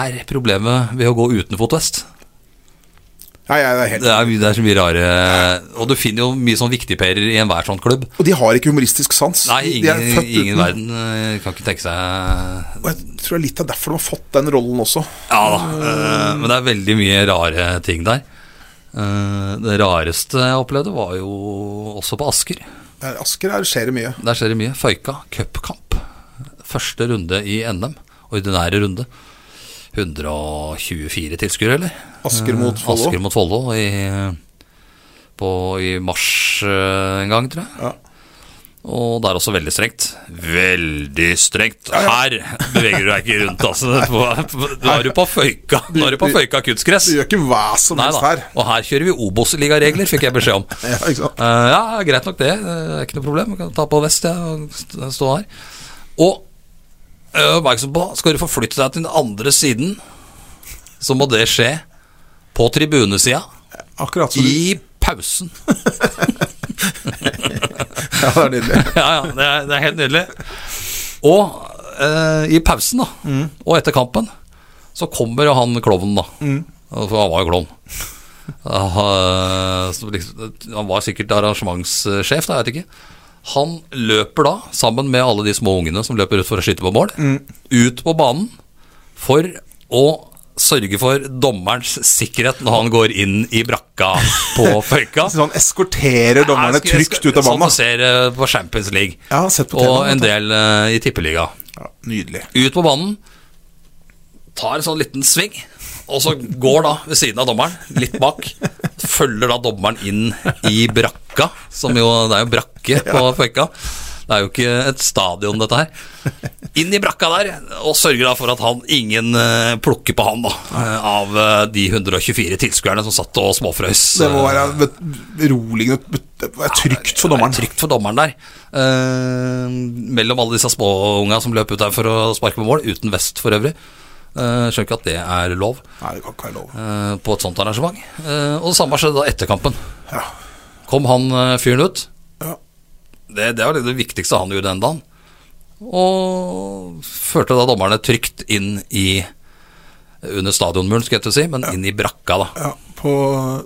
[SPEAKER 1] er problemet ved å gå uten fotvest?
[SPEAKER 2] Nei, jeg er helt
[SPEAKER 1] Det er, det er så mye rare Og du finner jo mye sånn viktigperer i enhver sånn klubb.
[SPEAKER 2] Og de har ikke humoristisk sans.
[SPEAKER 1] Nei,
[SPEAKER 2] de er
[SPEAKER 1] ingen,
[SPEAKER 2] født
[SPEAKER 1] ingen
[SPEAKER 2] uten.
[SPEAKER 1] verden eh, kan ikke tenke seg
[SPEAKER 2] Og jeg tror det er litt av derfor de har fått den rollen også.
[SPEAKER 1] Ja da. eh, Men det er veldig mye rare ting der. Eh, Det rareste jeg opplevde, var jo også på Asker.
[SPEAKER 2] Eh, Asker her skjer det mye.
[SPEAKER 1] Der skjer det mye. Føyka cupkamp. Første runde i NM. Ordinære runde. 124 tilskuere, eller?
[SPEAKER 2] Asker mot Follo.
[SPEAKER 1] Eh, Asker mot Follo i, på- i mars eh, en gang, tror jeg.
[SPEAKER 2] Ja.
[SPEAKER 1] Og det er også veldig strengt. Veldig strengt.
[SPEAKER 2] Ja,
[SPEAKER 1] Her beveger du deg ikke rundt, altså. På- på- Nå er du på Føyka Nå er du på Føyka kunstgress.
[SPEAKER 2] Du gjør ikke hva som
[SPEAKER 1] Nei
[SPEAKER 2] helst
[SPEAKER 1] da.
[SPEAKER 2] her.
[SPEAKER 1] Og her kjører vi Obos-ligaregler, fikk jeg beskjed om.
[SPEAKER 2] Ja, ikke sant?
[SPEAKER 1] Eh, ja, greit nok det. Det er ikke noe problem. Jeg kan ta på vest jeg, og st- stå her. Og eh, oppmerksom på, skal du forflytte deg til den andre siden, så må det skje på tribunesida
[SPEAKER 2] Akkurat som du
[SPEAKER 1] i pausen.
[SPEAKER 2] Ja, det er nydelig.
[SPEAKER 1] Ja, ja, det er, det er helt nydelig. Og eh, i pausen, da,
[SPEAKER 2] Mm.
[SPEAKER 1] og etter kampen, så kommer jo han klovnen, da.
[SPEAKER 2] Mm.
[SPEAKER 1] For han var jo klovn. Ah, eh, så liksom, Han var sikkert arrangementssjef, da, jeg vet ikke. Han løper da, sammen med alle de små ungene som løper ut for å skyte på mål,
[SPEAKER 2] Mm.
[SPEAKER 1] ut på banen for å sørge for dommerens sikkerhet når han går inn i brakka på Føyka.
[SPEAKER 2] Så han Sånn eskorterer dommerne
[SPEAKER 1] Jeg skulle-
[SPEAKER 2] trygt ut av
[SPEAKER 1] Sånn
[SPEAKER 2] banen.
[SPEAKER 1] man ser eh, på Champions League.
[SPEAKER 2] Ja, jeg har sett på TV,
[SPEAKER 1] og en
[SPEAKER 2] vet du.
[SPEAKER 1] del eh, i tippeliga.
[SPEAKER 2] Ja, nydelig.
[SPEAKER 1] Ut på banen, tar en sånn liten sving, og så går da ved siden av dommeren, litt bak. Følger da dommeren inn i brakka, som jo Det er jo brakke på Føyka. Det er jo ikke et stadion, dette her. Inn i brakka der, og sørger da for at han, ingen eh, plukker på han, da. eh, Av eh, de 124 tilskuerne som satt og småfrøys.
[SPEAKER 2] Det må
[SPEAKER 1] eh,
[SPEAKER 2] være vet- beroligende Det er trygt for dommeren.
[SPEAKER 1] Det er trygt for dommeren der. Eh, mellom alle disse småunga som løp ut der for å sparke på mål, uten vest for øvrig. Eh, skjønner ikke at det er lov
[SPEAKER 2] Nei, det kan ikke være lov.
[SPEAKER 1] eh, på et sånt arrangement. Eh, og det samme skjedde da etter kampen.
[SPEAKER 2] Ja.
[SPEAKER 1] Kom han eh, fyren ut.
[SPEAKER 2] Ja.
[SPEAKER 1] Det, det var det viktigste han gjorde den dagen. Og førte da dommerne trygt inn i eh, under stadionmuren, skal jeg til å si, men inn i brakka, da.
[SPEAKER 2] Ja, på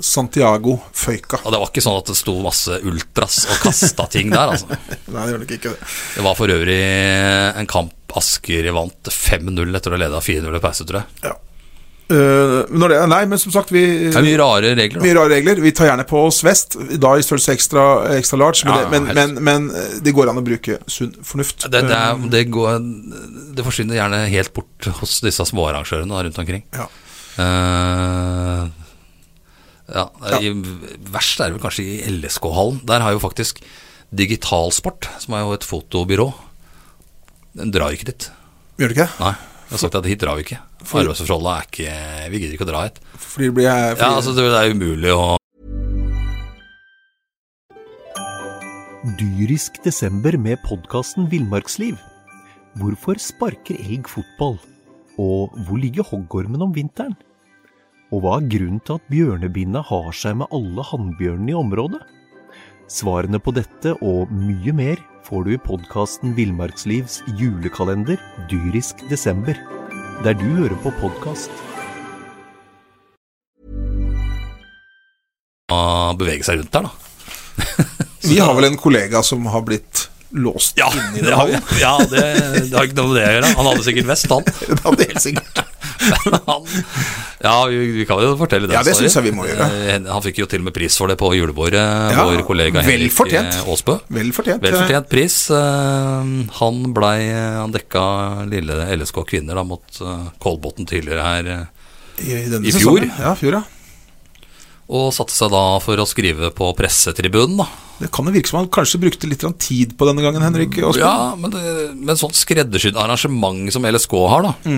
[SPEAKER 2] Santiago Føyka.
[SPEAKER 1] Og det var ikke sånn at det sto masse ultras og kasta ting der, altså.
[SPEAKER 2] Nei, det gjør nok ikke det.
[SPEAKER 1] Det var for øvrig en kamp Asker vant 5-0 etter å ha leda 4-0 i pause, tror jeg.
[SPEAKER 2] Ja. Eh, når det, nei, men som sagt, vi
[SPEAKER 1] Det er mye rare regler.
[SPEAKER 2] Mye
[SPEAKER 1] Da.
[SPEAKER 2] rare regler. Vi tar gjerne på oss vest, da i størrelse ekstra, ekstra large, men,
[SPEAKER 1] Ja, ja,
[SPEAKER 2] det, men,
[SPEAKER 1] helst.
[SPEAKER 2] men, men eh, det går an å bruke sunn fornuft. Um,
[SPEAKER 1] Det, det, er, det, går, det forsvinner gjerne helt bort hos disse småarrangørene da, rundt omkring.
[SPEAKER 2] Ja.
[SPEAKER 1] Eh, ja,
[SPEAKER 2] Ja.
[SPEAKER 1] I, verst er det vel kanskje i LSK-hallen. Der har jo faktisk Digitalsport, som er jo et fotobyrå, den drar ikke dit.
[SPEAKER 2] Gjør det ikke det?
[SPEAKER 1] Nei, jeg har sagt at hit drar vi ikke.
[SPEAKER 2] For-
[SPEAKER 1] Arbeidsforholdet er ikke Vi gidder ikke å dra hit.
[SPEAKER 2] Fordi det blir fordi,
[SPEAKER 1] Ja, altså, det er umulig å
[SPEAKER 3] Dyrisk desember med podkasten Villmarksliv. Hvorfor sparker elg fotball? Og hvor ligger hoggormen om vinteren? Og hva er grunnen til at bjørnebinna har seg med alle hannbjørnene i området? Svarene på dette og mye mer får du i podkasten Villmarkslivs julekalender Dyrisk desember, der du hører på podkast.
[SPEAKER 1] å bevege seg rundt der, da.
[SPEAKER 2] Vi har vel en kollega som har blitt låst
[SPEAKER 1] Ja,
[SPEAKER 2] inni
[SPEAKER 1] det
[SPEAKER 2] den
[SPEAKER 1] har,
[SPEAKER 2] hallen.
[SPEAKER 1] ja det, det har ikke noe med det å gjøre. Han hadde sikkert vest, han.
[SPEAKER 2] Det hadde helt sikkert.
[SPEAKER 1] han ja, vi, vi kan jo fortelle den
[SPEAKER 2] Ja, det
[SPEAKER 1] storyen.
[SPEAKER 2] synes jeg vi må gjøre.
[SPEAKER 1] Eh, Han fikk jo til og med pris for det på julebordet,
[SPEAKER 2] Ja,
[SPEAKER 1] vår kollega
[SPEAKER 2] vel
[SPEAKER 1] Henrik
[SPEAKER 2] fortjent.
[SPEAKER 1] eh, Aasbø.
[SPEAKER 2] Vel fortjent.
[SPEAKER 1] Vel fortjent pris. Eh, Han blei Han dekka lille LSK Kvinner da mot eh, Kolbotn tidligere her eh,
[SPEAKER 2] I, i, denne
[SPEAKER 1] I fjor?
[SPEAKER 2] sesongen. Ja, fjor, ja.
[SPEAKER 1] Og satte seg da for å skrive på pressetribunen, da.
[SPEAKER 2] Det kan jo virke som han kanskje brukte litt grann tid på denne gangen, Henrik Åsmund.
[SPEAKER 1] Mm, Ja, men, det- men sånt skreddersydd arrangement som LSK har, da.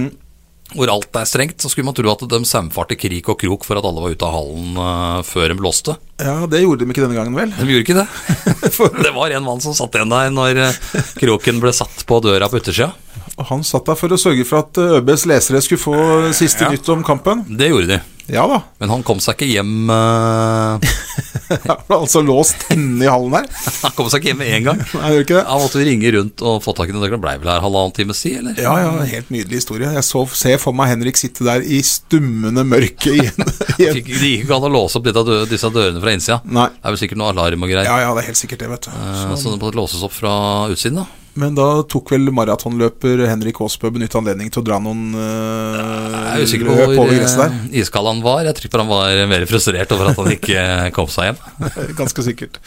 [SPEAKER 1] Hvor alt er strengt, så skulle man tro at de samfarte krik og krok for at alle var ute av hallen eh, før de blåste.
[SPEAKER 2] Ja. det gjorde de ikke denne gangen, vel?
[SPEAKER 1] De gjorde ikke det. For det var en mann som satt igjen der når eh, kroken ble satt på døra på yttersida.
[SPEAKER 2] Og han satt der for å sørge for at eh, ØBs lesere skulle få eh, siste nytt om kampen.
[SPEAKER 1] Det gjorde de.
[SPEAKER 2] Ja da.
[SPEAKER 1] Men han kom seg ikke hjem eh,
[SPEAKER 2] Han ble altså låst inne i hallen der.
[SPEAKER 1] Han kom seg ikke hjem med en gang.
[SPEAKER 2] Nei, gjør ikke det?
[SPEAKER 1] Han måtte jo ringe rundt og få tak i den. Det blei vel her halvannen times tid, eller?
[SPEAKER 2] Ja, ja, helt nydelig historie. Jeg så, ser for meg Henrik sitte der i stummende mørke igjen.
[SPEAKER 1] Det gikk ikke an å låse opp disse dø- disse dørene fra innsida.
[SPEAKER 2] Nei.
[SPEAKER 1] Det er vel sikkert noe alarm og greier.
[SPEAKER 2] Ja, ja, det er helt sikkert det, vet du. Sånn.
[SPEAKER 1] Eh, Så det måtte låses opp fra utsiden, da.
[SPEAKER 2] Men da tok vel maratonløper Henrik Aasbø benytte anledningen til å dra noen eh,
[SPEAKER 1] Jeg er usikker på
[SPEAKER 2] løp
[SPEAKER 1] hvor
[SPEAKER 2] over gresset der.
[SPEAKER 1] eh, iskald han var. Jeg tipper han var mer frustrert over at han ikke kom seg hjem.
[SPEAKER 2] Ganske sikkert.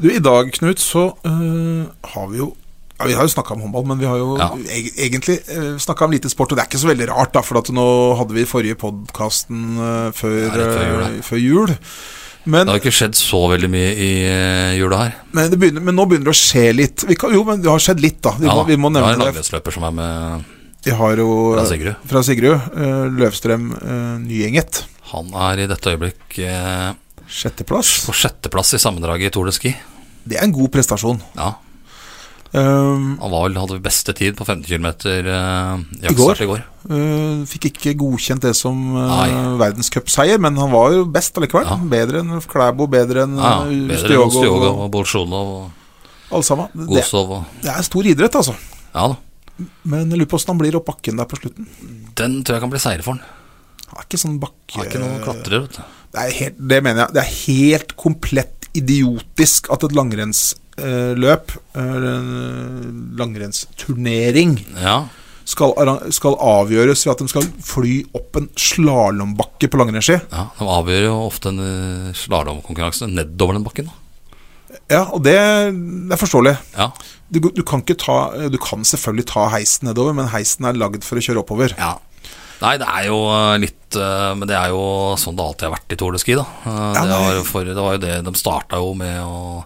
[SPEAKER 2] Du, I dag, Knut, så eh, har vi jo ja, Vi har jo snakka om håndball, men vi har jo
[SPEAKER 1] Ja.
[SPEAKER 2] eg egentlig uh, snakka om lite sport. Og det er ikke så veldig rart, da, for at nå hadde vi forrige podkasten før,
[SPEAKER 1] Ja, rett før jul,
[SPEAKER 2] eh, før jul. Men
[SPEAKER 1] Det har ikke skjedd så veldig mye i eh, jula her.
[SPEAKER 2] Men, det begynner, men nå begynner det å skje litt. Vi kan, jo, men det har skjedd litt, da. Vi,
[SPEAKER 1] Ja,
[SPEAKER 2] må, vi må
[SPEAKER 1] det er en
[SPEAKER 2] nevne det.
[SPEAKER 1] langrennsløper som er med.
[SPEAKER 2] Vi har jo
[SPEAKER 1] Fra Sigrud.
[SPEAKER 2] Fra Sigrud, eh, Løvstrøm eh, Nyenget.
[SPEAKER 1] Han er i dette øyeblikk eh,
[SPEAKER 2] Sjetteplass.
[SPEAKER 1] på sjetteplass i sammendraget i Tour de Ski.
[SPEAKER 2] Det er en god prestasjon.
[SPEAKER 1] Ja,
[SPEAKER 2] Eh,
[SPEAKER 1] han var vel, hadde beste tid på 50 km eh,
[SPEAKER 2] I går?
[SPEAKER 1] jaktstart i går.
[SPEAKER 2] eh, fikk ikke godkjent det som
[SPEAKER 1] Nei.
[SPEAKER 2] uh, verdenscupseier, men han var jo best allikevel.
[SPEAKER 1] Ja.
[SPEAKER 2] Bedre enn Klæbo, bedre enn eh,
[SPEAKER 1] Ja,
[SPEAKER 2] ja,
[SPEAKER 1] bedre enn
[SPEAKER 2] Stjogo
[SPEAKER 1] Stjoga
[SPEAKER 2] og
[SPEAKER 1] og Bolsjunov og
[SPEAKER 2] alle sammen. Det,
[SPEAKER 1] Gosov og
[SPEAKER 2] det er stor idrett, altså.
[SPEAKER 1] Ja da.
[SPEAKER 2] Men jeg lurer på åssen han blir opp bakken der på slutten.
[SPEAKER 1] Den tror jeg kan bli seier for han.
[SPEAKER 2] Han er ikke sånn bakke...
[SPEAKER 1] Han er ikke noen klatrer, vet du.
[SPEAKER 2] Det, er helt, det mener jeg. Det er helt komplett idiotisk at et langrennsløp, eller en eh, langrennsturnering,
[SPEAKER 1] Ja.
[SPEAKER 2] skal, arran- skal avgjøres ved at de skal fly opp en slalåmbakke på langrennsski.
[SPEAKER 1] Ja, De avgjør jo ofte en eh, slalåmkonkurranse nedover den bakken. da.
[SPEAKER 2] Ja, og det, det er forståelig.
[SPEAKER 1] Ja,
[SPEAKER 2] Du, du, kan ikke ta, du kan selvfølgelig ta heisen nedover, men heisen er lagd for å kjøre oppover.
[SPEAKER 1] ja. Nei, det er jo eh, litt eh, Men det er jo sånn det alltid har vært i Tour de Ski. da. Eh,
[SPEAKER 2] Ja,
[SPEAKER 1] Det
[SPEAKER 2] nei.
[SPEAKER 1] var, jo for, det var jo det de starta jo med å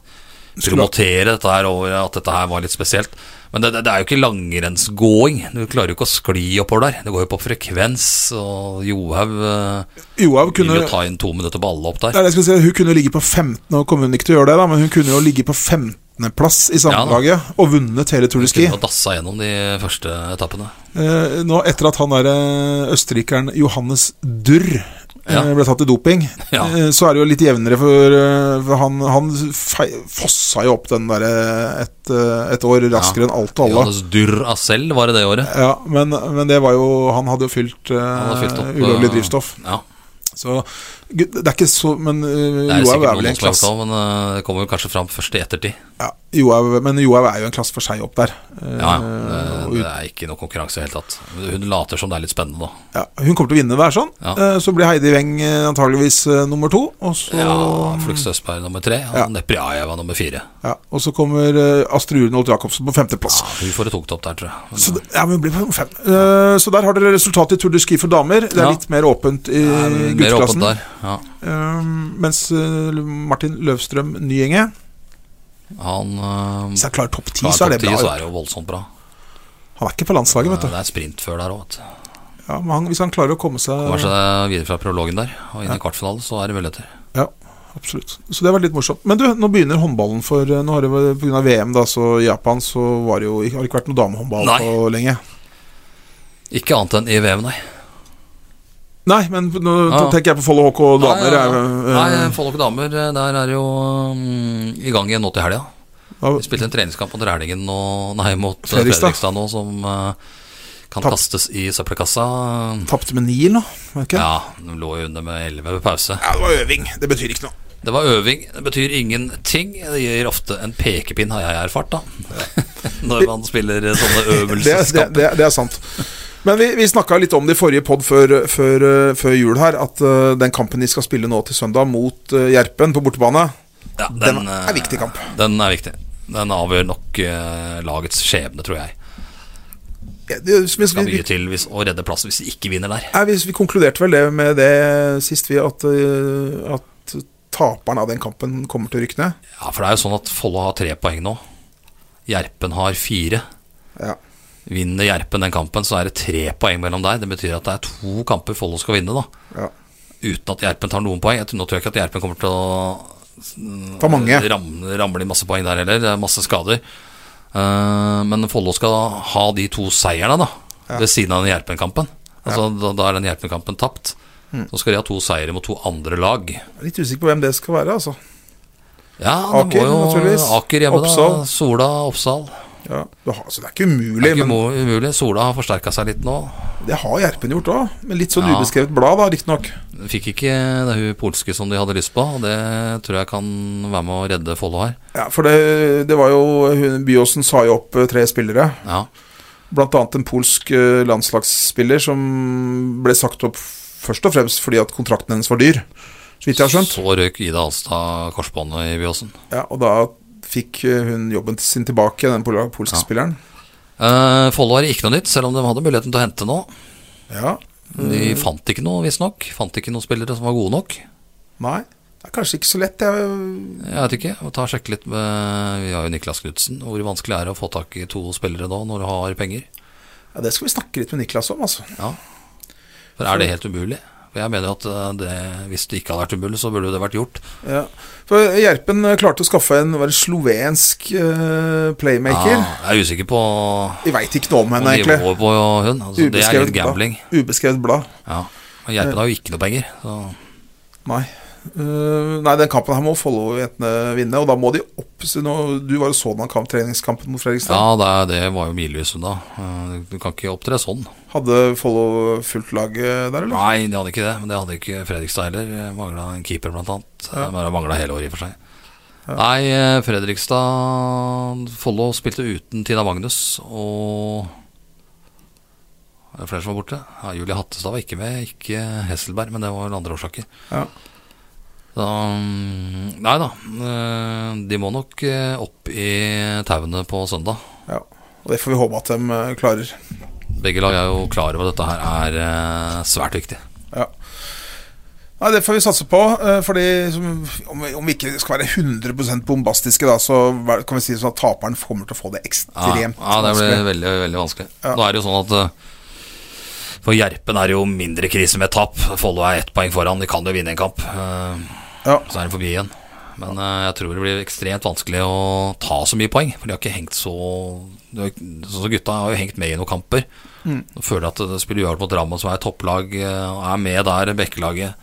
[SPEAKER 2] Skulle-
[SPEAKER 1] promotere dette her over at dette her var litt spesielt. Men det, det, det er jo ikke langrennsgåing. Du klarer jo ikke å skli oppover der. Det går jo på frekvens, og Johaug eh,
[SPEAKER 2] Johaug
[SPEAKER 1] vil
[SPEAKER 2] kunne
[SPEAKER 1] jo ta inn to minutter på alle opp
[SPEAKER 2] det
[SPEAKER 1] der.
[SPEAKER 2] er det jeg skulle si, Hun kunne ligge på 15, og kom hun ikke til å gjøre det, da, men hun kunne jo ligge på 15.-plass i sammendraget og vunnet hele Tour de Ski.
[SPEAKER 1] Kunne ha dassa gjennom de første etappene.
[SPEAKER 2] Eh, nå etter at han der eh, østerrikeren Johannes Durr eh,
[SPEAKER 1] Ja.
[SPEAKER 2] ble tatt i doping,
[SPEAKER 1] Ja.
[SPEAKER 2] eh, så er det jo litt jevnere for, eh, for han, han fei, fossa jo opp den der eh, et, eh, et år raskere enn alt og alle.
[SPEAKER 1] Johannes Dürr Asell var det det året.
[SPEAKER 2] Ja, men, men det var jo Han hadde jo fylt, eh,
[SPEAKER 1] Han har fylt opp
[SPEAKER 2] ulovlig
[SPEAKER 1] eh,
[SPEAKER 2] drivstoff.
[SPEAKER 1] Ja.
[SPEAKER 2] Så gud, det er ikke så Men eh,
[SPEAKER 1] Det er jo
[SPEAKER 2] Johaug
[SPEAKER 1] sikkert
[SPEAKER 2] er vel
[SPEAKER 1] noen som har
[SPEAKER 2] en
[SPEAKER 1] gjort
[SPEAKER 2] klasse
[SPEAKER 1] det, men eh, det kommer vel kanskje fram først i ettertid.
[SPEAKER 2] ja, Johaug- Men Johaug er jo en klasse for seg opp der. Eh,
[SPEAKER 1] Ja, ja.
[SPEAKER 2] og
[SPEAKER 1] Det, det er ikke noe konkurranse i det hele tatt. Hun later som det er litt spennende, da.
[SPEAKER 2] Ja, hun kommer til å vinne, det er sånn.
[SPEAKER 1] Ja.
[SPEAKER 2] Eh, Så blir Heidi Weng eh, antageligvis eh, nummer to. Og så,
[SPEAKER 1] Ja,
[SPEAKER 2] ja,
[SPEAKER 1] Flux Østberg nummer tre, og
[SPEAKER 2] Ja.
[SPEAKER 1] Nepriajev var nummer fire.
[SPEAKER 2] og så kommer eh, Astrid Urenholt Jacobsen på femteplass.
[SPEAKER 1] Ja, hun får et tungt opp der, tror jeg. Men,
[SPEAKER 2] Så, det- ja, men hun blir på nummer fem. Eh, så der har dere resultatet i Tour de Ski for damer. Det er
[SPEAKER 1] Ja.
[SPEAKER 2] litt mer åpent i
[SPEAKER 1] ja, men mer åpent
[SPEAKER 2] gutteklassen.
[SPEAKER 1] der. Ja.
[SPEAKER 2] Eh, mens eh, Martin Løvstrøm Nyenge
[SPEAKER 1] Han eh,
[SPEAKER 2] Hvis jeg klarer topp ti,
[SPEAKER 1] klarer
[SPEAKER 2] så er det
[SPEAKER 1] Mm. topp ti,
[SPEAKER 2] bra.
[SPEAKER 1] så er det jo voldsomt bra.
[SPEAKER 2] Han er ikke på landslaget, vet
[SPEAKER 1] Det
[SPEAKER 2] du.
[SPEAKER 1] er sprint før der òg.
[SPEAKER 2] Ja, men han, hvis han klarer å komme seg
[SPEAKER 1] Kommer seg eh, videre fra prologen der og inn i kvartfinalen, så er det muligheter.
[SPEAKER 2] Ja, absolutt. Så det var litt morsomt. Men du, nå begynner håndballen for eh, Nå har det vært- på grunn av VM, da, så i Japan, så var det jo, har det ikke vært noe damehåndball
[SPEAKER 1] Nei.
[SPEAKER 2] på lenge.
[SPEAKER 1] Ikke annet enn i VM, nei.
[SPEAKER 2] Nei, men nå
[SPEAKER 1] Ja, ja.
[SPEAKER 2] tenker jeg på Follo HK
[SPEAKER 1] Nei,
[SPEAKER 2] damer.
[SPEAKER 1] ja,
[SPEAKER 2] eh,
[SPEAKER 1] ja.
[SPEAKER 2] eh,
[SPEAKER 1] Nei, Follok damer, eh, der er jo mm, i gang igjen nå til helga.
[SPEAKER 2] da-
[SPEAKER 1] Vi spilte en treningskamp mot Rælingen nå, nei, mot eh,
[SPEAKER 2] Fredrikstad.
[SPEAKER 1] Fredrikstad nå, som eh, kan
[SPEAKER 2] Tapp.
[SPEAKER 1] kastes i søppelkassa.
[SPEAKER 2] Tapte med Niel, da. var det Ikke?
[SPEAKER 1] Ja, de lå jo under med 11 ved pause.
[SPEAKER 2] ja, det var øving. Det betyr ikke noe.
[SPEAKER 1] Det var øving, det betyr ingenting. Det gir ofte en pekepinn, har jeg erfart, da. Når man spiller sånne
[SPEAKER 2] Det, det,
[SPEAKER 1] øvelseskamper.
[SPEAKER 2] det, det er sant. Men vi, vi snakka litt om det i forrige pod før, før, eh, før jul her, at eh, den kampen de skal spille nå til søndag mot eh, Gjerpen på bortebane,
[SPEAKER 1] Ja,
[SPEAKER 2] den,
[SPEAKER 1] eh,
[SPEAKER 2] er viktig kamp.
[SPEAKER 1] Den er viktig. Den avgjør nok eh, lagets skjebne, tror jeg.
[SPEAKER 2] Ja, det- hvis,
[SPEAKER 1] Skal
[SPEAKER 2] vi,
[SPEAKER 1] mye til hvis, å redde plassen hvis de ikke vinner der.
[SPEAKER 2] nei, hvis vi konkluderte vel det med det sist, vi, at, eh, at taperen av den kampen kommer til å rykke ned.
[SPEAKER 1] Ja, For det er jo sånn at Follo har tre poeng nå. Gjerpen har fire.
[SPEAKER 2] Ja.
[SPEAKER 1] Vinner Gjerpen den kampen, så er det tre poeng mellom der. Det betyr at det er to kamper Follo skal vinne, da.
[SPEAKER 2] ja.
[SPEAKER 1] Uten at Gjerpen tar noen poeng. Jeg tror, nå tror jeg ikke at Gjerpen kommer til å mm,
[SPEAKER 2] Ta mange.
[SPEAKER 1] Ramler, ramler de masse poeng der heller. Det er masse skader. Eh, men Follo skal ha de to seierne, da. Ved siden av den Gjerpen-kampen. Altså, da, da er den Gjerpen-kampen tapt.
[SPEAKER 2] Mm.
[SPEAKER 1] Så skal de ha to seire mot to andre lag.
[SPEAKER 2] Jeg er Litt usikker på hvem det skal være, altså.
[SPEAKER 1] Ja, det
[SPEAKER 2] Aker,
[SPEAKER 1] må jo
[SPEAKER 2] naturligvis.
[SPEAKER 1] Aker hjemme,
[SPEAKER 2] Oppsal.
[SPEAKER 1] da. Sola, Oppsal.
[SPEAKER 2] Ja. Du har, så det er ikke umulig,
[SPEAKER 1] Det er ikke
[SPEAKER 2] men
[SPEAKER 1] mo- umulig. Sola har forsterka seg litt nå.
[SPEAKER 2] det har Gjerpen gjort òg. Med litt sånn
[SPEAKER 1] Ja.
[SPEAKER 2] ubeskrevet blad, da, riktignok.
[SPEAKER 1] Fikk ikke det hun polske som de hadde lyst på. og Det tror jeg kan være med å redde Follo her.
[SPEAKER 2] Ja, for det, det var jo hun- Byåsen sa jo opp eh, tre spillere.
[SPEAKER 1] Ja.
[SPEAKER 2] Blant annet en polsk eh, landslagsspiller som ble sagt opp først og fremst fordi at kontrakten hennes var dyr. Så vidt jeg har skjønt.
[SPEAKER 1] Så røyk Ida Alstad korsbåndet i Byåsen.
[SPEAKER 2] Ja, og da fikk eh, hun jobben sin tilbake, den pola- polske
[SPEAKER 1] Ja.
[SPEAKER 2] spilleren.
[SPEAKER 1] Uh, Follo har ikke noe nytt, selv om de hadde muligheten til å hente nå.
[SPEAKER 2] Ja,
[SPEAKER 1] De fant ikke noe, visstnok. Fant ikke noen spillere som var gode nok.
[SPEAKER 2] nei. Det er kanskje ikke så lett. Jeg,
[SPEAKER 1] Jeg vet ikke. Jeg må ta og sjekke litt med Vi har jo Niklas Knutsen. Hvor vanskelig er det å få tak i to spillere da, når du har penger?
[SPEAKER 2] ja, det skal vi snakke litt med Niklas om, altså.
[SPEAKER 1] Ja. For er det helt umulig? For jeg mener at eh, det, hvis det ikke hadde vært umulig, så burde det vært gjort.
[SPEAKER 2] Ja. For Gjerpen eh, klarte å skaffe en var det slovensk eh, playmaker.
[SPEAKER 1] Ja, jeg er usikker på
[SPEAKER 2] Vi veit ikke noe om
[SPEAKER 1] på
[SPEAKER 2] henne, egentlig.
[SPEAKER 1] nivået på hun. Altså, det er litt gambling.
[SPEAKER 2] blad. Ubeskrevet blad.
[SPEAKER 1] Ja. Men Gjerpen har jo ikke noe penger. Så.
[SPEAKER 2] Nei. Eh, nei, den kampen her må Follo-jentene vinne, og da må de opp så nå- Du var jo så den kamp, treningskampen mot
[SPEAKER 1] Ja,
[SPEAKER 2] Fredrikstad.
[SPEAKER 1] det, er- det var jo milevis unna. Eh, Du kan ikke opptre sånn.
[SPEAKER 2] Hadde Follo fullt laget der, eller?
[SPEAKER 1] Nei, de hadde ikke det, men det hadde ikke Fredrikstad heller. Mangla en keeper, blant annet. Ja. Mangla hele året, i og for seg. Nei, eh, Fredrikstad Follo spilte uten Tina Magnus og Er det flere som var borte? Ja, Julie Hattestad var ikke med, ikke Hesselberg, men det var andre årsaker.
[SPEAKER 2] Ja.
[SPEAKER 1] Så, mm, nei da. eh, De må nok eh, opp i tauene på søndag.
[SPEAKER 2] Ja. Og det får vi håpe at de eh, klarer.
[SPEAKER 1] Begge lag er jo klar over at dette her er eh, svært viktig.
[SPEAKER 2] Ja. Nei, Det får vi satse på. eh, Fordi som, om, vi, om vi ikke skal være 100 bombastiske, da, så vær- kan vi si sånn at taperen kommer til å få det ekstremt
[SPEAKER 1] Ja, ja det blir
[SPEAKER 2] vanskelig.
[SPEAKER 1] veldig, veldig vanskelig.
[SPEAKER 2] Ja.
[SPEAKER 1] Nå er det jo sånn at eh, for Gjerpen er det jo mindre krise med tap. Follo er ett poeng foran, de kan jo vinne en kamp. eh,
[SPEAKER 2] Ja.
[SPEAKER 1] Så er de forbi igjen. Men eh, jeg tror det blir ekstremt vanskelig å ta så mye poeng. For de har ikke hengt så de har ikke- Sånn som gutta har jo hengt med i noen kamper. Nå Føler jeg at det spiller uavgjort mot Drammen, som er et topplag, eh, og er med der, Bekkelaget.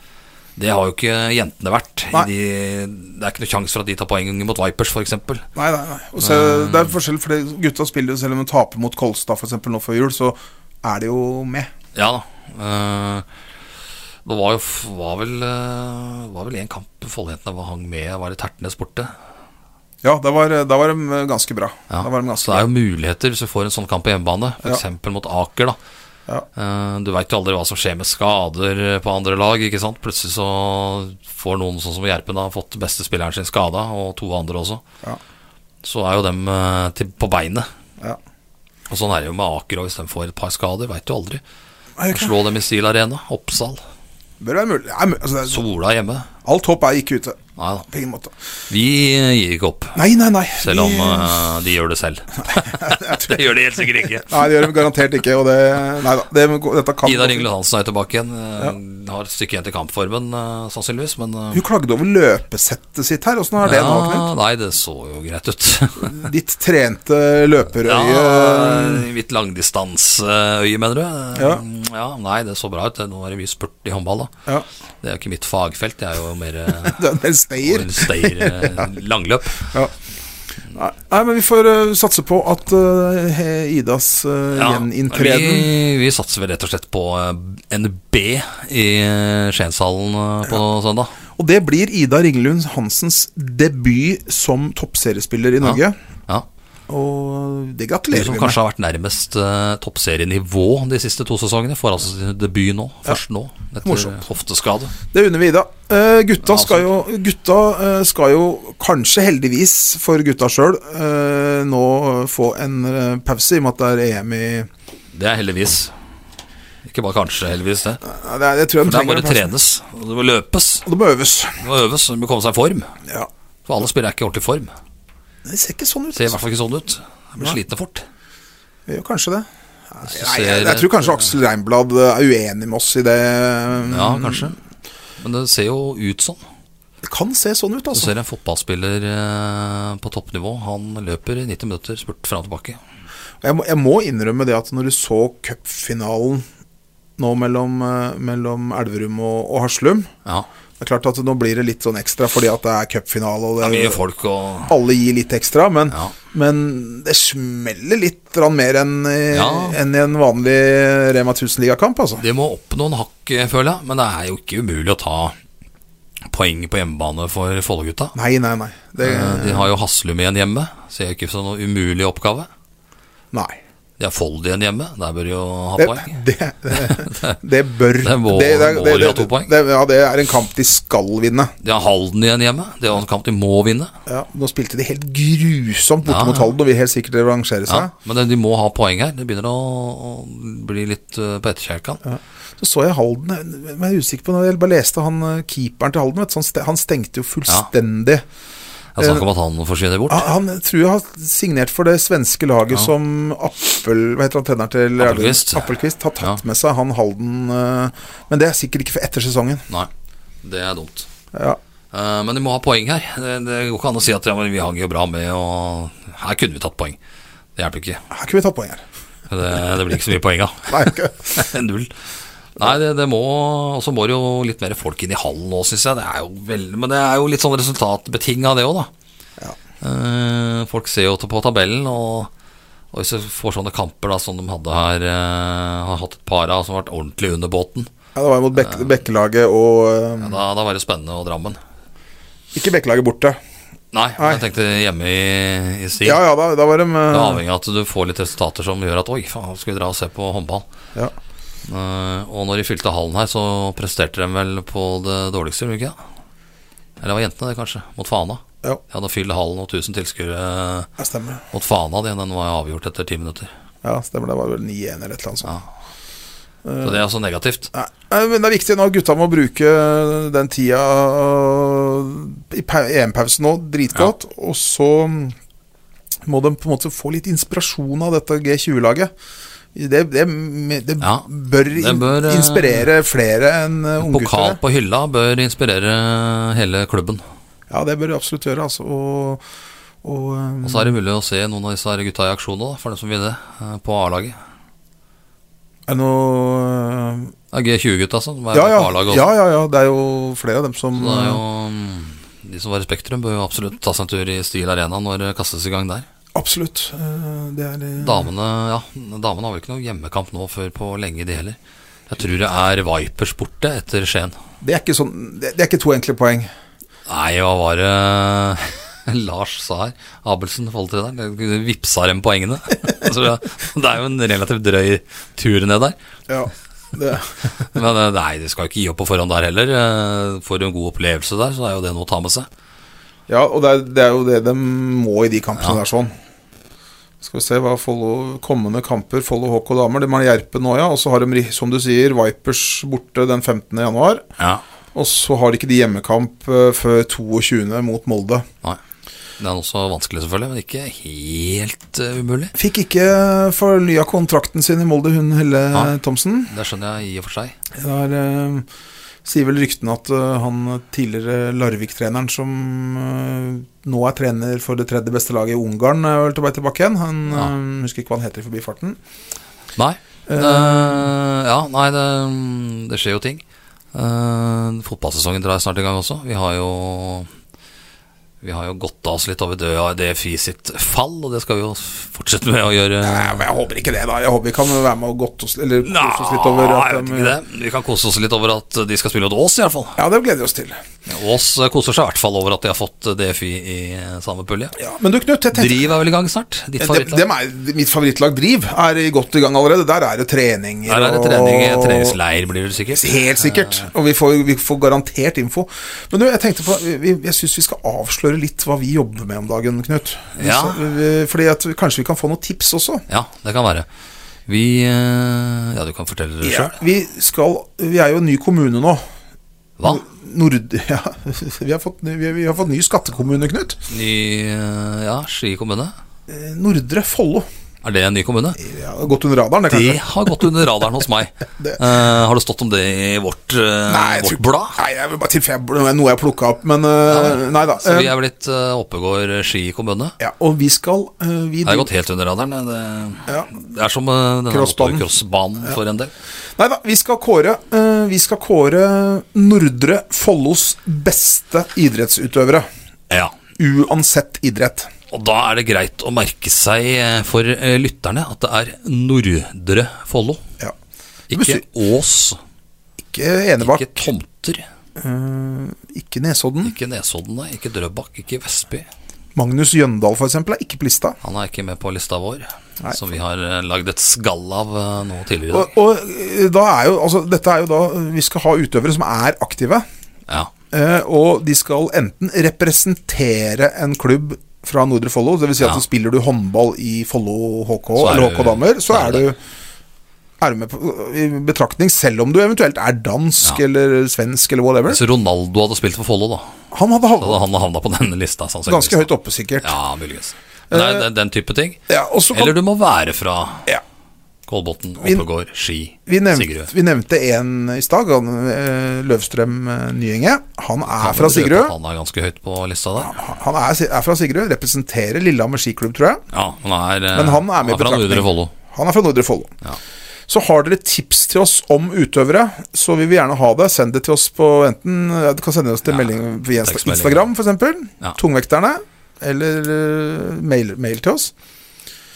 [SPEAKER 1] Det har jo ikke jentene vært. I
[SPEAKER 2] Nei.
[SPEAKER 1] de, det er ikke noe sjanse for at de tar poeng mot Vipers, f.eks.
[SPEAKER 2] Nei, nei, nei. Og
[SPEAKER 1] Mm.
[SPEAKER 2] så, det er forskjell, for det- gutta spiller jo selv om de taper mot Kolstad for eksempel, nå før jul, så er de jo med.
[SPEAKER 1] Ja da. eh, det var jo f- var vel eh, var vel en kamp Follo-jentene var- hang med, var det Tertnes borte?
[SPEAKER 2] Ja, da var, da var de eh, ganske bra.
[SPEAKER 1] Ja.
[SPEAKER 2] Da var de ganske
[SPEAKER 1] Så det er
[SPEAKER 2] bra.
[SPEAKER 1] jo muligheter hvis du får en sånn kamp på hjemmebane, f.eks. eksempel mot Aker. da
[SPEAKER 2] Ja.
[SPEAKER 1] Eh, Du veit jo aldri hva som skjer med skader på andre lag. ikke sant? Plutselig så får noen sånn som Gjerpen har fått beste spilleren sin skada, og to andre også.
[SPEAKER 2] Ja.
[SPEAKER 1] Så er jo dem eh, til, på beinet.
[SPEAKER 2] Ja.
[SPEAKER 1] Og sånn er det jo med Aker og hvis de får et par skader. Veit du aldri.
[SPEAKER 2] Nei, ok.
[SPEAKER 1] Slå dem i Steel Arena, Oppsal,
[SPEAKER 2] Bør være mulig. Ja, men, altså, det er,
[SPEAKER 1] Sola hjemme.
[SPEAKER 2] alt håp er ikke ute.
[SPEAKER 1] Nei da.
[SPEAKER 2] På ingen måte.
[SPEAKER 1] Vi gir ikke opp,
[SPEAKER 2] Nei, nei, nei.
[SPEAKER 1] selv om
[SPEAKER 2] Vi-
[SPEAKER 1] eh, de gjør det selv. det gjør de helt sikkert ikke.
[SPEAKER 2] Nei, det gjør de garantert ikke. Og det, nei da, det, dette kan
[SPEAKER 1] Ida Ringle Hansen er tilbake igjen. eh, Har et stykke igjen til kampformen, eh, sannsynligvis. Men eh,
[SPEAKER 2] Hun klagde over løpesettet sitt her. Åssen har det nå knekt?
[SPEAKER 1] nei, det så jo greit ut.
[SPEAKER 2] Ditt trente
[SPEAKER 1] ja,
[SPEAKER 2] løperøye
[SPEAKER 1] Litt langdistanseøye, mener du? Eh,
[SPEAKER 2] Ja.
[SPEAKER 1] ja. Nei, det så bra ut. Nå er det mye spurt i håndball, da.
[SPEAKER 2] ja.
[SPEAKER 1] Det er jo ikke mitt fagfelt, det er jo mer eh,
[SPEAKER 2] Det er en del stayer.
[SPEAKER 1] steier, eh, langløp.
[SPEAKER 2] Ja. Nei, nei, men vi får eh, satse på at eh, he- Idas uh, gjeninntreden
[SPEAKER 1] vi, vi satser vel rett og slett på eh, en B i eh, Skienshallen eh, på søndag.
[SPEAKER 2] Og det blir Ida Ringelund Hansens debut som toppseriespiller i Norge.
[SPEAKER 1] Ja.
[SPEAKER 2] Og det
[SPEAKER 1] Du
[SPEAKER 2] gratulerer
[SPEAKER 1] som
[SPEAKER 2] vi med.
[SPEAKER 1] kanskje har vært nærmest eh, toppserienivå de siste to sesongene, får altså sin debut nå. Først nå, etter
[SPEAKER 2] Morsomt.
[SPEAKER 1] hofteskade.
[SPEAKER 2] Det unner vi Ida. Eh,
[SPEAKER 1] Ja,
[SPEAKER 2] gutta
[SPEAKER 1] altså.
[SPEAKER 2] skal jo, gutta, eh, skal jo kanskje heldigvis eh, for gutta sjøl nå få en eh, pause, i og med at det er EM i
[SPEAKER 1] Det er heldigvis. Ikke bare kanskje, heldigvis det.
[SPEAKER 2] Nei, det er, jeg tror jeg
[SPEAKER 1] For
[SPEAKER 2] de
[SPEAKER 1] det er
[SPEAKER 2] trenger
[SPEAKER 1] bare
[SPEAKER 2] den plassen.
[SPEAKER 1] trenes, og det må løpes,
[SPEAKER 2] Og det må øves.
[SPEAKER 1] det må øves, det må komme seg i form.
[SPEAKER 2] Ja.
[SPEAKER 1] For alle spillere er ikke i ordentlig form.
[SPEAKER 2] Det ser ikke sånn ut.
[SPEAKER 1] Ser i hvert fall ikke sånn ut. Jeg blir
[SPEAKER 2] Nei.
[SPEAKER 1] slitne fort.
[SPEAKER 2] Det gjør kanskje det.
[SPEAKER 1] Jeg
[SPEAKER 2] Nei, jeg,
[SPEAKER 1] ser-
[SPEAKER 2] jeg tror kanskje Aksel Reinblad eh, er uenig med oss i det.
[SPEAKER 1] Ja, kanskje. Men det ser jo ut sånn.
[SPEAKER 2] Det kan se sånn ut,
[SPEAKER 1] Du
[SPEAKER 2] altså.
[SPEAKER 1] ser en fotballspiller eh, på toppnivå. Han løper i 90 minutter, spurt fram og tilbake.
[SPEAKER 2] Jeg må, jeg må innrømme det at når du så cupfinalen nå mellom, eh, mellom Elverum og, og Haslum
[SPEAKER 1] Ja,
[SPEAKER 2] Det er klart at nå blir det litt sånn ekstra fordi at det er cupfinale, og
[SPEAKER 1] det er
[SPEAKER 2] det,
[SPEAKER 1] mye folk og
[SPEAKER 2] alle gir litt ekstra, men,
[SPEAKER 1] Ja.
[SPEAKER 2] men det smeller litt grann mer enn i-
[SPEAKER 1] Ja.
[SPEAKER 2] enn i en vanlig Rema 1000-ligakamp, altså.
[SPEAKER 1] De må opp noen hakk, eh, føler jeg. Men det er jo ikke umulig å ta poeng på hjemmebane for Follo-gutta.
[SPEAKER 2] Nei, nei, nei. Det,
[SPEAKER 1] Eh, De har jo Haslum igjen hjemme, så det er jo ikke sånn noen umulig oppgave.
[SPEAKER 2] nei.
[SPEAKER 1] De har Fold igjen hjemme, der bør de jo ha
[SPEAKER 2] Det,
[SPEAKER 1] poeng.
[SPEAKER 2] det, det, det bør
[SPEAKER 1] Det må- må de ha to poeng.
[SPEAKER 2] det, ja, det er en kamp de skal vinne.
[SPEAKER 1] De har Halden igjen hjemme, det er jo en kamp de må vinne.
[SPEAKER 2] Ja, nå spilte de helt grusomt borte
[SPEAKER 1] Ja,
[SPEAKER 2] mot
[SPEAKER 1] ja.
[SPEAKER 2] Halden og vil helt sikkert rangere
[SPEAKER 1] Ja,
[SPEAKER 2] seg.
[SPEAKER 1] men det- de må ha poeng her. Det begynner å, å bli litt eh, på etterkjelken.
[SPEAKER 2] Så så jeg Halden Jeg er usikker på når jeg bare leste han eh, keeperen til Halden. Vet, du, han, ste- han stengte jo fullstendig. Ah,
[SPEAKER 1] Jeg snakker om at han forsvinner bort.
[SPEAKER 2] Han, han tror jeg har signert for det svenske laget som Appel... Hva heter han treneren til
[SPEAKER 1] Appelqvist.
[SPEAKER 2] Elverum? Appelqvist har tatt
[SPEAKER 1] Ja.
[SPEAKER 2] med seg han Halden eh, Men det er sikkert ikke for etter sesongen.
[SPEAKER 1] Nei, det er dumt.
[SPEAKER 2] Ja.
[SPEAKER 1] Eh, men de må ha poeng her. Det, det går ikke an å si at ja, men vi hang jo bra med, og her kunne vi tatt poeng. Det hjelper ikke.
[SPEAKER 2] Her kunne vi tatt poeng her.
[SPEAKER 1] Det, det blir ikke så mye poeng av.
[SPEAKER 2] Nei, ikke.
[SPEAKER 1] Null. Nei, det, det må Og så må det jo litt mer folk inn i hallen nå, syns jeg. Det er jo veldig, men det er jo litt sånn resultatbetinga, det òg, da. Eh, folk ser jo på tabellen, og, og hvis du får sånne kamper da, som de hadde her eh, Har hatt et par av som har vært ordentlig under båten,
[SPEAKER 2] Ja, det var jo mot Bek Bekkelaget og eh,
[SPEAKER 1] da, da var det spennende og Drammen.
[SPEAKER 2] Ikke Bekkelaget borte.
[SPEAKER 1] Nei,
[SPEAKER 2] Nei.
[SPEAKER 1] jeg tenkte hjemme i, i stil.
[SPEAKER 2] Ja, ja, da, da var de eh,
[SPEAKER 1] Det er avhengig av at du får litt resultater som gjør at Oi, faen, skal vi dra og se på håndball?
[SPEAKER 2] ja.
[SPEAKER 1] Eh, og når de fylte hallen her, så presterte de vel på det dårligste, gjorde de ikke det? Eller det var jentene, det, kanskje? Mot Fana.
[SPEAKER 2] Ja,
[SPEAKER 1] De hadde fylt hallen og 1000 tilskuere
[SPEAKER 2] det stemmer.
[SPEAKER 1] mot Fana. Den, den var avgjort etter ti minutter.
[SPEAKER 2] Ja, stemmer. Det var vel 9-1 eller et eller annet sånt.
[SPEAKER 1] Ja. Så det er altså negativt.
[SPEAKER 2] Nei, nei, men det er viktig nå. Gutta må bruke den tida eh, i pau- EM-pausen nå dritgodt. Og så må de på en måte få litt inspirasjon av dette G20-laget. Det, det, det
[SPEAKER 1] Ja,
[SPEAKER 2] bør,
[SPEAKER 1] det
[SPEAKER 2] in-
[SPEAKER 1] bør, eh,
[SPEAKER 2] inspirere flere enn eh,
[SPEAKER 1] Pokal
[SPEAKER 2] unggutter.
[SPEAKER 1] på hylla bør inspirere hele klubben.
[SPEAKER 2] Ja, det bør de absolutt gjøre. Altså. Og, og, eh,
[SPEAKER 1] Og så er det mulig å se noen av disse her gutta i aksjon òg, for dem som vil det, eh, på A-laget.
[SPEAKER 2] er det noe eh,
[SPEAKER 1] Det er G20-gutta altså, som er
[SPEAKER 2] ja, ja,
[SPEAKER 1] på A-laget også.
[SPEAKER 2] ja, ja, ja, det er jo flere av dem som
[SPEAKER 1] Det er jo, mm, de som var i Spektrum, bør jo absolutt ta seg en tur i Stil Arena når det kastes i gang der.
[SPEAKER 2] Absolutt. eh, Det er eh,
[SPEAKER 1] Damene ja, damene har vel ikke noe hjemmekamp nå før på lenge, de heller. Jeg tror det er Vipers borte etter Skien.
[SPEAKER 2] Det er ikke, sånn, det, det er ikke to enkle poeng.
[SPEAKER 1] Nei, hva var det Lars sa her? Abelsen, Follo-treneren. de Vipsa dem poengene. Så det det er jo en relativt drøy tur ned der.
[SPEAKER 2] Ja, det,
[SPEAKER 1] Men eh, nei, du skal jo ikke gi opp på forhånd der heller. Eh, Får du en god opplevelse der, så er jo det noe å ta med seg.
[SPEAKER 2] ja og det er, det er jo det de må i de kampene der, sånn. Skal vi se hva Follo Kommende kamper, Follo HK damer. De har Jerpe nå, ja. Og så har de, som du sier, Vipers borte den 15. januar.
[SPEAKER 1] Ja,
[SPEAKER 2] Og så har de ikke de hjemmekamp eh, før 22. mot Molde.
[SPEAKER 1] nei. Det er også vanskelig, selvfølgelig, men ikke helt eh, umulig.
[SPEAKER 2] Fikk ikke fornya kontrakten sin i Molde, hun Helle
[SPEAKER 1] Nei.
[SPEAKER 2] Thomsen.
[SPEAKER 1] Det skjønner jeg i og for seg.
[SPEAKER 2] Der eh, sier vel ryktene at eh, han tidligere Larvik-treneren som eh, nå er trener for det tredje beste laget i Ungarn, er vel tilbake, tilbake igjen. Han
[SPEAKER 1] Ja.
[SPEAKER 2] eh, husker ikke hva han heter i forbifarten.
[SPEAKER 1] Nei.
[SPEAKER 2] Eh,
[SPEAKER 1] Eh, ja, nei, det, det skjer jo ting. Eh, fotballsesongen drar snart i gang også. Vi har jo Vi har jo gått av oss litt over DFI sitt fall, og det skal vi jo fortsette med å gjøre.
[SPEAKER 2] Nei, men jeg håper ikke det, da. Jeg håper vi kan være med og godt oss, eller
[SPEAKER 1] Nei,
[SPEAKER 2] kose oss litt over
[SPEAKER 1] jeg
[SPEAKER 2] at
[SPEAKER 1] vet
[SPEAKER 2] de-
[SPEAKER 1] ikke det. Vi kan kose oss litt over at de skal spille mot Ås, i hvert fall.
[SPEAKER 2] Ja, det gleder vi oss til.
[SPEAKER 1] Ås koser seg i hvert fall over at de har fått DFI i samme pulje.
[SPEAKER 2] Ja, men du, Knut, jeg tenkte
[SPEAKER 1] Driv er vel i gang snart? Ditt
[SPEAKER 2] dem,
[SPEAKER 1] favorittlag?
[SPEAKER 2] dem er, Mitt favorittlag Driv er i godt i gang allerede. Der er det treninger
[SPEAKER 1] Der er det trening,
[SPEAKER 2] og-
[SPEAKER 1] treningsleir, blir det sikkert.
[SPEAKER 2] Helt sikkert. Eh, Og vi får, vi får garantert info. Men du, jeg tenkte på vi- Jeg syns vi skal avsløre litt hva vi jobber med om dagen, Knut.
[SPEAKER 1] Ja.
[SPEAKER 2] Så, eh, Fordi at vi- kanskje vi kan få noen tips også.
[SPEAKER 1] Ja, det kan være. Vi eh, Ja, du kan fortelle det sjøl.
[SPEAKER 2] Vi, skal, vi er jo en ny kommune nå.
[SPEAKER 1] Hva?
[SPEAKER 2] Nord... Ja, vi har fått, ny- vi, vi har fått ny skattekommune, Knut.
[SPEAKER 1] Ny eh, Ja, Ski kommune.
[SPEAKER 2] Eh, Nordre Follo.
[SPEAKER 1] Er det en ny kommune?
[SPEAKER 2] Ja, det har gått under radaren, det,
[SPEAKER 1] Det
[SPEAKER 2] kanskje.
[SPEAKER 1] har gått under radaren hos meg.
[SPEAKER 2] Det-
[SPEAKER 1] Eh, har det stått om det i vårt, eh,
[SPEAKER 2] Nei, jeg
[SPEAKER 1] vårt
[SPEAKER 2] tror-
[SPEAKER 1] blad?
[SPEAKER 2] Nei, jeg vil bare tilfelle jeg- det er noe jeg plukka opp, men eh, Nei da.
[SPEAKER 1] Så vi
[SPEAKER 2] Eh,
[SPEAKER 1] er blitt uh, Oppegård Ski kommune.
[SPEAKER 2] ja, og vi skal eh, vi,
[SPEAKER 1] Det har gått helt under radaren. Det,
[SPEAKER 2] Ja.
[SPEAKER 1] det er som eh, denne
[SPEAKER 2] Crossbanen.
[SPEAKER 1] motocrossbanen for en del.
[SPEAKER 2] Nei da, vi skal kåre eh, Vi skal kåre Nordre Follos beste idrettsutøvere.
[SPEAKER 1] Ja.
[SPEAKER 2] Uansett idrett.
[SPEAKER 1] Og da er det greit å merke seg eh, for eh, lytterne at det er Nordre Follo.
[SPEAKER 2] Ja.
[SPEAKER 1] Ikke
[SPEAKER 2] Besøk-
[SPEAKER 1] Ås,
[SPEAKER 2] Ikke Enebakk,
[SPEAKER 1] ikke Tomter,
[SPEAKER 2] ikke Nesodden.
[SPEAKER 1] ikke Nesodden, nei, ikke Drøbak, ikke Vestby.
[SPEAKER 2] Magnus Jøndal, for eksempel, er ikke på lista.
[SPEAKER 1] Han er ikke med på lista vår, som vi har eh, lagd et skall av eh, nå tidligere i dag.
[SPEAKER 2] Og, og eh, da er jo Altså, dette er jo da eh, Vi skal ha utøvere som er aktive,
[SPEAKER 1] Ja.
[SPEAKER 2] eh, og de skal enten representere en klubb fra Nordre Follo, dvs. Si
[SPEAKER 1] Ja.
[SPEAKER 2] at så spiller du håndball i Follo HK
[SPEAKER 1] Så er
[SPEAKER 2] eller
[SPEAKER 1] du-
[SPEAKER 2] HK Damer, så
[SPEAKER 1] så er
[SPEAKER 2] er du er du med på, i betraktning, selv om du eventuelt er dansk
[SPEAKER 1] Ja.
[SPEAKER 2] eller svensk eller whatever.
[SPEAKER 1] Hvis Ronaldo hadde spilt for Follo, da,
[SPEAKER 2] Han hadde
[SPEAKER 1] da hadde
[SPEAKER 2] havnet
[SPEAKER 1] han havna på denne lista. sannsynligvis.
[SPEAKER 2] ganske høyt oppe, sikkert.
[SPEAKER 1] Ja, muligens. Nei, den, den type ting.
[SPEAKER 2] Ja, og så kan-
[SPEAKER 1] Eller du må være fra
[SPEAKER 2] Ja.
[SPEAKER 1] Kolbotn, Oppegård, Ski,
[SPEAKER 2] Vi nevnte,
[SPEAKER 1] Sigrud.
[SPEAKER 2] vi nevnte en i stad, han, eh, Løvstrøm eh, Nyenge. Han
[SPEAKER 1] Kan
[SPEAKER 2] er
[SPEAKER 1] du røpe
[SPEAKER 2] fra
[SPEAKER 1] at
[SPEAKER 2] Sigrud.
[SPEAKER 1] Han er ganske høyt på lista der.
[SPEAKER 2] Han er, si- er fra Sigrud, representerer Lillehammer skiklubb, tror jeg.
[SPEAKER 1] Ja, han er, eh,
[SPEAKER 2] Men han er med i
[SPEAKER 1] fra
[SPEAKER 2] betraktning.
[SPEAKER 1] Nordre Follo.
[SPEAKER 2] Han er fra Nordre Follo.
[SPEAKER 1] Ja.
[SPEAKER 2] Så har dere tips til oss om utøvere, så vil vi gjerne ha det. Send det til oss på enten ja, Du kan sende oss til melding via Insta-
[SPEAKER 1] tekstmelding.
[SPEAKER 2] Instagram, f.eks.
[SPEAKER 1] Ja.
[SPEAKER 2] Tungvekterne. Eller eh, mail, mail til oss.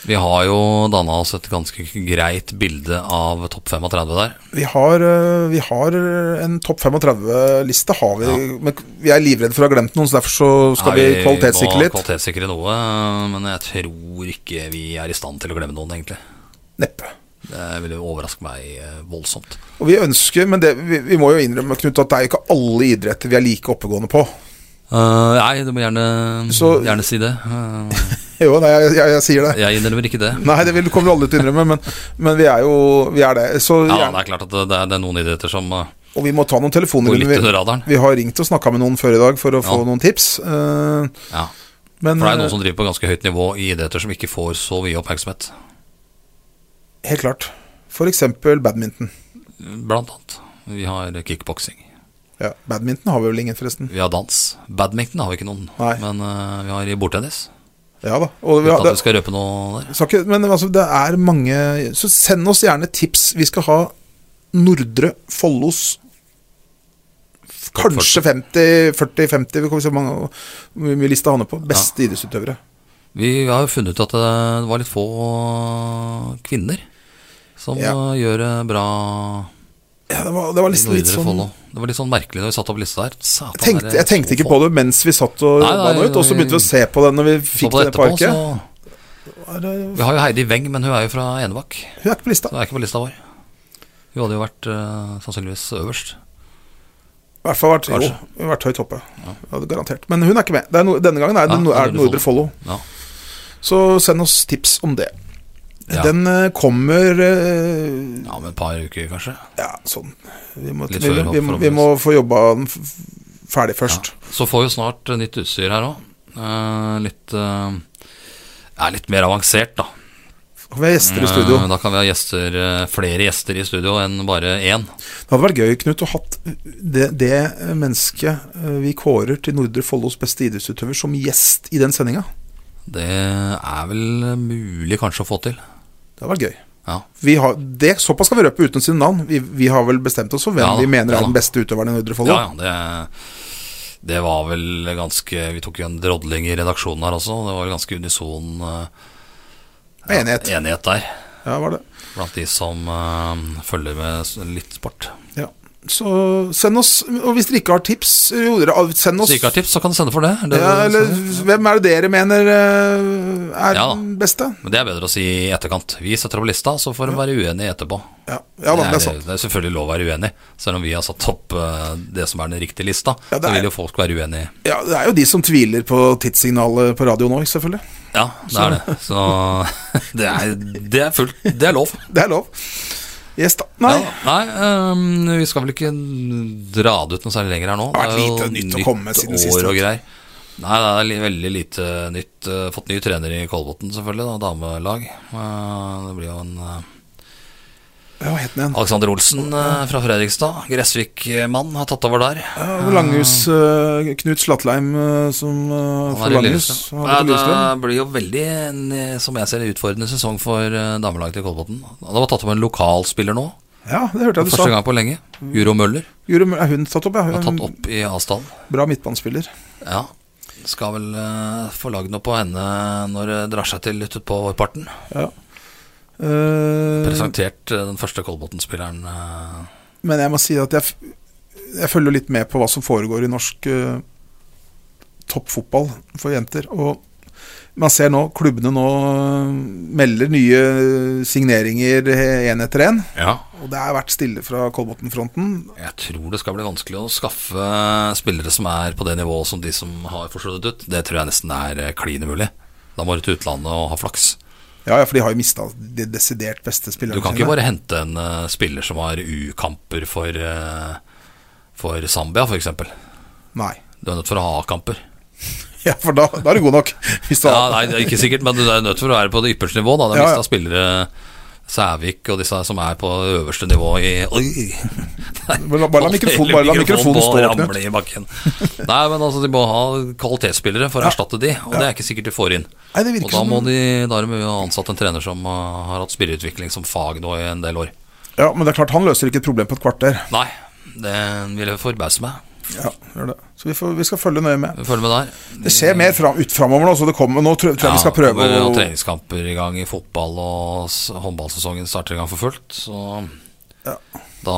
[SPEAKER 1] Vi har jo danna oss et ganske greit bilde av topp 35 der.
[SPEAKER 2] Vi har, eh, vi har eh, en topp 35-liste, har vi. Men vi er livredde for å ha glemt noen, så derfor så skal
[SPEAKER 1] Nei,
[SPEAKER 2] vi kvalitetssikre
[SPEAKER 1] Må
[SPEAKER 2] litt.
[SPEAKER 1] kvalitetssikre noe, men jeg tror ikke vi er i stand til å glemme noen, egentlig.
[SPEAKER 2] Neppe.
[SPEAKER 1] Det ville jo overraske meg eh, voldsomt.
[SPEAKER 2] Og vi ønsker, men det, vi, vi må jo innrømme, Knut, at det er jo ikke alle idretter vi er like oppegående på.
[SPEAKER 1] Eh, nei, du må gjerne,
[SPEAKER 2] Så-
[SPEAKER 1] gjerne si det. Eh,
[SPEAKER 2] Jo, nei, jeg, jeg, jeg sier det.
[SPEAKER 1] jeg innrømmer ikke det.
[SPEAKER 2] Nei, det vil- kommer du aldri til å innrømme, men, men vi er jo vi er det. Så,
[SPEAKER 1] Ja,
[SPEAKER 2] gjerne-
[SPEAKER 1] det er klart at det, det er- det er noen idretter som eh,
[SPEAKER 2] og vi må ta noen
[SPEAKER 1] går
[SPEAKER 2] telefoner.
[SPEAKER 1] litt
[SPEAKER 2] Vi,
[SPEAKER 1] under radaren.
[SPEAKER 2] vi har ringt og snakka med noen før i dag for å få noen tips. eh,
[SPEAKER 1] Ja,
[SPEAKER 2] men
[SPEAKER 1] for
[SPEAKER 2] eh,
[SPEAKER 1] det er noen som driver på ganske høyt nivå i idretter som ikke får så mye oppmerksomhet,
[SPEAKER 2] eh, helt klart. For eksempel badminton.
[SPEAKER 1] blant annet. Vi har kickboksing,
[SPEAKER 2] Ja, badminton har vi vel ingen, forresten.
[SPEAKER 1] vi har dans. Badminton har vi ikke noen,
[SPEAKER 2] Nei.
[SPEAKER 1] men eh, vi har i bordtennis.
[SPEAKER 2] Ja da. Og vi
[SPEAKER 1] Uten
[SPEAKER 2] har,
[SPEAKER 1] at vi
[SPEAKER 2] det,
[SPEAKER 1] skal røpe noe der.
[SPEAKER 2] skal ikke, men altså, det er mange Så send oss gjerne tips. Vi skal ha Nordre Follos Kanskje 50, 40-50, vi kommer til å se hvor mange hvor mye lista han er på. Beste idrettsutøvere.
[SPEAKER 1] Vi har jo funnet ut at det var litt få kvinner som
[SPEAKER 2] Ja.
[SPEAKER 1] eh, gjør det bra
[SPEAKER 2] Ja, det var, det var
[SPEAKER 1] i
[SPEAKER 2] liksom litt
[SPEAKER 1] Nordre
[SPEAKER 2] sånn
[SPEAKER 1] Follo. Det var litt sånn merkelig når vi satte opp lista der. Satan,
[SPEAKER 2] Jeg tenkte,
[SPEAKER 1] er det
[SPEAKER 2] jeg tenkte
[SPEAKER 1] så
[SPEAKER 2] ikke
[SPEAKER 1] få?
[SPEAKER 2] på det mens vi satt og
[SPEAKER 1] Nei,
[SPEAKER 2] jobba
[SPEAKER 1] nei,
[SPEAKER 2] ut, og så
[SPEAKER 1] nei.
[SPEAKER 2] begynte vi å se på den når vi
[SPEAKER 1] Så på
[SPEAKER 2] fikk den i
[SPEAKER 1] det etterpå,
[SPEAKER 2] parken.
[SPEAKER 1] så
[SPEAKER 2] Er det-
[SPEAKER 1] Vi har jo Heidi Weng, men hun er jo fra Enebakk.
[SPEAKER 2] Hun er ikke på lista.
[SPEAKER 1] Så hun er ikke på lista vår. Hun hadde jo vært eh, sannsynligvis øverst.
[SPEAKER 2] I hvert fall vært, jo,
[SPEAKER 1] Kanskje.
[SPEAKER 2] hun har vært høyt oppe. Ja, det er garantert. Men hun er ikke med. Det er no, denne gangen er det,
[SPEAKER 1] Ja,
[SPEAKER 2] no, er det Nordre
[SPEAKER 1] Nordre Follo.
[SPEAKER 2] Follo.
[SPEAKER 1] Ja.
[SPEAKER 2] Så send oss tips om det.
[SPEAKER 1] Ja.
[SPEAKER 2] Den eh, kommer eh,
[SPEAKER 1] ja, med et par uker, kanskje.
[SPEAKER 2] Ja, sånn Vi må,
[SPEAKER 1] Litt
[SPEAKER 2] vi,
[SPEAKER 1] før,
[SPEAKER 2] vi, må- vi
[SPEAKER 1] forhåpentligvis.
[SPEAKER 2] må få jobba den f- ferdig først.
[SPEAKER 1] Så får vi jo snart eh, nytt utstyr her òg. litt eh, ja, litt mer avansert, da.
[SPEAKER 2] Og vi har gjester i studio.
[SPEAKER 1] Eh, da kan vi ha gjester, eh, flere gjester i studio enn bare én.
[SPEAKER 2] Det hadde vært gøy, Knut, å hatt det, det mennesket eh, vi kårer til Nordre Follos beste idrettsutøver, som gjest i den sendinga.
[SPEAKER 1] Det er vel mulig kanskje å få til.
[SPEAKER 2] Det hadde vært gøy.
[SPEAKER 1] Ja.
[SPEAKER 2] Vi har, det, såpass skal vi røpe uten sine navn. Vi, vi har vel bestemt oss for hvem
[SPEAKER 1] Ja da,
[SPEAKER 2] vi mener
[SPEAKER 1] ja
[SPEAKER 2] er den
[SPEAKER 1] da.
[SPEAKER 2] beste utøveren i Nordre Follo.
[SPEAKER 1] Ja, ja, det, det var vel ganske Vi tok jo en drodling i redaksjonen her også. og Det var vel ganske unison eh, ja,
[SPEAKER 2] Enighet.
[SPEAKER 1] enighet der
[SPEAKER 2] Ja, var det.
[SPEAKER 1] blant de som eh, følger med s- litt sport.
[SPEAKER 2] Ja. Så send oss Og hvis dere ikke har tips, jo, dere, ah, send oss
[SPEAKER 1] Hvis du ikke har tips, så kan du sende for det. det
[SPEAKER 2] ja, eller, Hvem er det dere mener eh, er
[SPEAKER 1] Ja da.
[SPEAKER 2] den beste?
[SPEAKER 1] men det er bedre å si i etterkant. Vi setter opp lista, så får de være uenige etterpå.
[SPEAKER 2] Ja, ja da, altså, det er sant.
[SPEAKER 1] det er selvfølgelig lov å være uenig, selv om vi har satt opp eh, det som er den riktige lista.
[SPEAKER 2] Ja, det
[SPEAKER 1] så
[SPEAKER 2] er-
[SPEAKER 1] vil jo folk være uenige.
[SPEAKER 2] Ja, det er jo de som tviler på tidssignalet på radio nå, selvfølgelig.
[SPEAKER 1] Ja, det er det. Så det er, det er fullt Det er lov.
[SPEAKER 2] Det er lov. Yes, da. Nei.
[SPEAKER 1] Ja, nei ehm, vi skal vel ikke dra det ut noe særlig lenger her nå.
[SPEAKER 2] Det har vært
[SPEAKER 1] er jo
[SPEAKER 2] lite nytt å komme med siden sist,
[SPEAKER 1] År og
[SPEAKER 2] vet du.
[SPEAKER 1] greier. Nei, det er li- veldig lite nytt. Eh, Fått ny trener i Kolbotn, selvfølgelig. da, Damelag. Eh, Det blir jo en eh,
[SPEAKER 2] Hva het den igjen?
[SPEAKER 1] Alexander Olsen eh, fra Fredrikstad. Gressvik-mann har tatt over der.
[SPEAKER 2] Ja, det var Langhus eh, Knut Slatleim eh, som uh,
[SPEAKER 1] Han
[SPEAKER 2] for
[SPEAKER 1] er i
[SPEAKER 2] Langhus.
[SPEAKER 1] Lillestrøm.
[SPEAKER 2] Han
[SPEAKER 1] Nei,
[SPEAKER 2] var på Lillestrøm.
[SPEAKER 1] det blir jo veldig, en, eh, som jeg ser, utfordrende sesong for eh, damelaget til Kolbotn. Det var tatt opp en lokalspiller nå.
[SPEAKER 2] Ja, det hørte jeg du
[SPEAKER 1] Første
[SPEAKER 2] sa.
[SPEAKER 1] gang på lenge. Juro Møller
[SPEAKER 2] Jure, er hun tatt opp, ja?
[SPEAKER 1] er
[SPEAKER 2] Hun,
[SPEAKER 1] tatt opp i Asdal.
[SPEAKER 2] Bra midtbanespiller.
[SPEAKER 1] Ja. Skal vel eh, få lagd noe på henne når det drar seg til utpå vårparten.
[SPEAKER 2] Ja. Eh,
[SPEAKER 1] Presentert eh, den første Kolbotn-spilleren. eh,
[SPEAKER 2] men jeg må si at jeg, f- jeg følger litt med på hva som foregår i norsk eh, toppfotball for jenter. Og man ser nå klubbene nå eh, melder nye eh, signeringer én etter én. Og det har vært stille fra Kolbotn-fronten.
[SPEAKER 1] Jeg tror det skal bli vanskelig å skaffe spillere som er på det nivået som de som har forsvunnet ut. Det tror jeg nesten er eh, klin umulig. Da må du til utlandet og ha flaks.
[SPEAKER 2] Ja, ja, for de har jo mista de desidert beste spillerne
[SPEAKER 1] Du kan ikke bare hente en eh, spiller som har U-kamper for, eh, for Zambia, f.eks.
[SPEAKER 2] Nei.
[SPEAKER 1] Du er nødt for å ha A-kamper.
[SPEAKER 2] Ja, for da, da er du god nok. Hvis du
[SPEAKER 1] Ja,
[SPEAKER 2] har-
[SPEAKER 1] nei, det er ikke sikkert, men du er nødt for å være på det ypperste nivå. Da. Det er
[SPEAKER 2] Ja,
[SPEAKER 1] mest
[SPEAKER 2] ja.
[SPEAKER 1] av spillere Sævik og disse her som er på det øverste nivå i Oi!
[SPEAKER 2] Bare la- bare la mikrofonen- bare la mikrofonen stå,
[SPEAKER 1] og
[SPEAKER 2] Knut.
[SPEAKER 1] ramle i bakken. Nei, men altså, de må ha kvalitetsspillere for å erstatte de, og det er ikke sikkert de får inn.
[SPEAKER 2] Nei, det virker
[SPEAKER 1] Og da
[SPEAKER 2] som-
[SPEAKER 1] må de Da har de jo ansatt en trener som uh, har hatt spillerutvikling som fag nå i en del år.
[SPEAKER 2] ja, men det er klart han løser ikke et problem på et kvarter.
[SPEAKER 1] Nei, det ville forbause meg.
[SPEAKER 2] Ja, gjør det. Så vi, får, vi skal følge nøye med.
[SPEAKER 1] Følg med der.
[SPEAKER 2] Det skjer mer fram, ut framover nå, så det kommer Nå tror, tror jeg vi skal prøve
[SPEAKER 1] å
[SPEAKER 2] å
[SPEAKER 1] Treningskamper i gang i fotball, og s- håndballsesongen starter i gang for fullt. Så
[SPEAKER 2] Ja.
[SPEAKER 1] da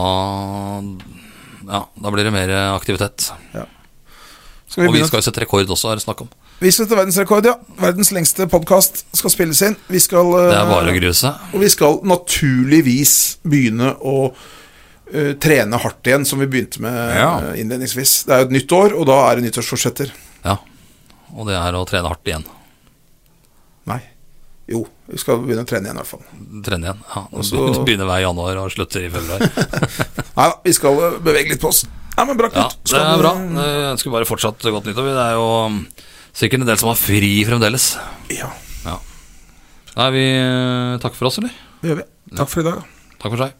[SPEAKER 1] Ja, da blir det mer aktivitet.
[SPEAKER 2] Skal vi
[SPEAKER 1] og vi
[SPEAKER 2] begynne?
[SPEAKER 1] skal jo sette rekord også, er det snakk om.
[SPEAKER 2] Vi skal til verdensrekord, ja. Verdens lengste podkast skal spilles inn. Vi skal eh,
[SPEAKER 1] Det er bare å grue seg.
[SPEAKER 2] Og vi skal naturligvis begynne å eh, trene hardt igjen, som vi begynte med
[SPEAKER 1] Ja.
[SPEAKER 2] eh, innledningsvis. Det er jo et nytt år, og da er det nyttårsforsetter.
[SPEAKER 1] Ja. Og det er å trene hardt igjen.
[SPEAKER 2] Nei. Jo, vi skal begynne å trene igjen i hvert fall.
[SPEAKER 1] Trene igjen. Ja,
[SPEAKER 2] så-
[SPEAKER 1] Du begynner hver januar og slutter i februar.
[SPEAKER 2] Nei da, vi skal eh, bevege litt på oss. Nei, men bra,
[SPEAKER 1] Ja,
[SPEAKER 2] Knut.
[SPEAKER 1] det
[SPEAKER 2] Skal
[SPEAKER 1] er
[SPEAKER 2] du-
[SPEAKER 1] bra. Jeg ønsker bare fortsatt godt nyttår. vi. Det er jo um, sikkert en del som har fri fremdeles.
[SPEAKER 2] Ja,
[SPEAKER 1] Ja. Nei, vi eh, takker for oss, eller?
[SPEAKER 2] det gjør vi. Takk for i dag.
[SPEAKER 1] Takk for seg.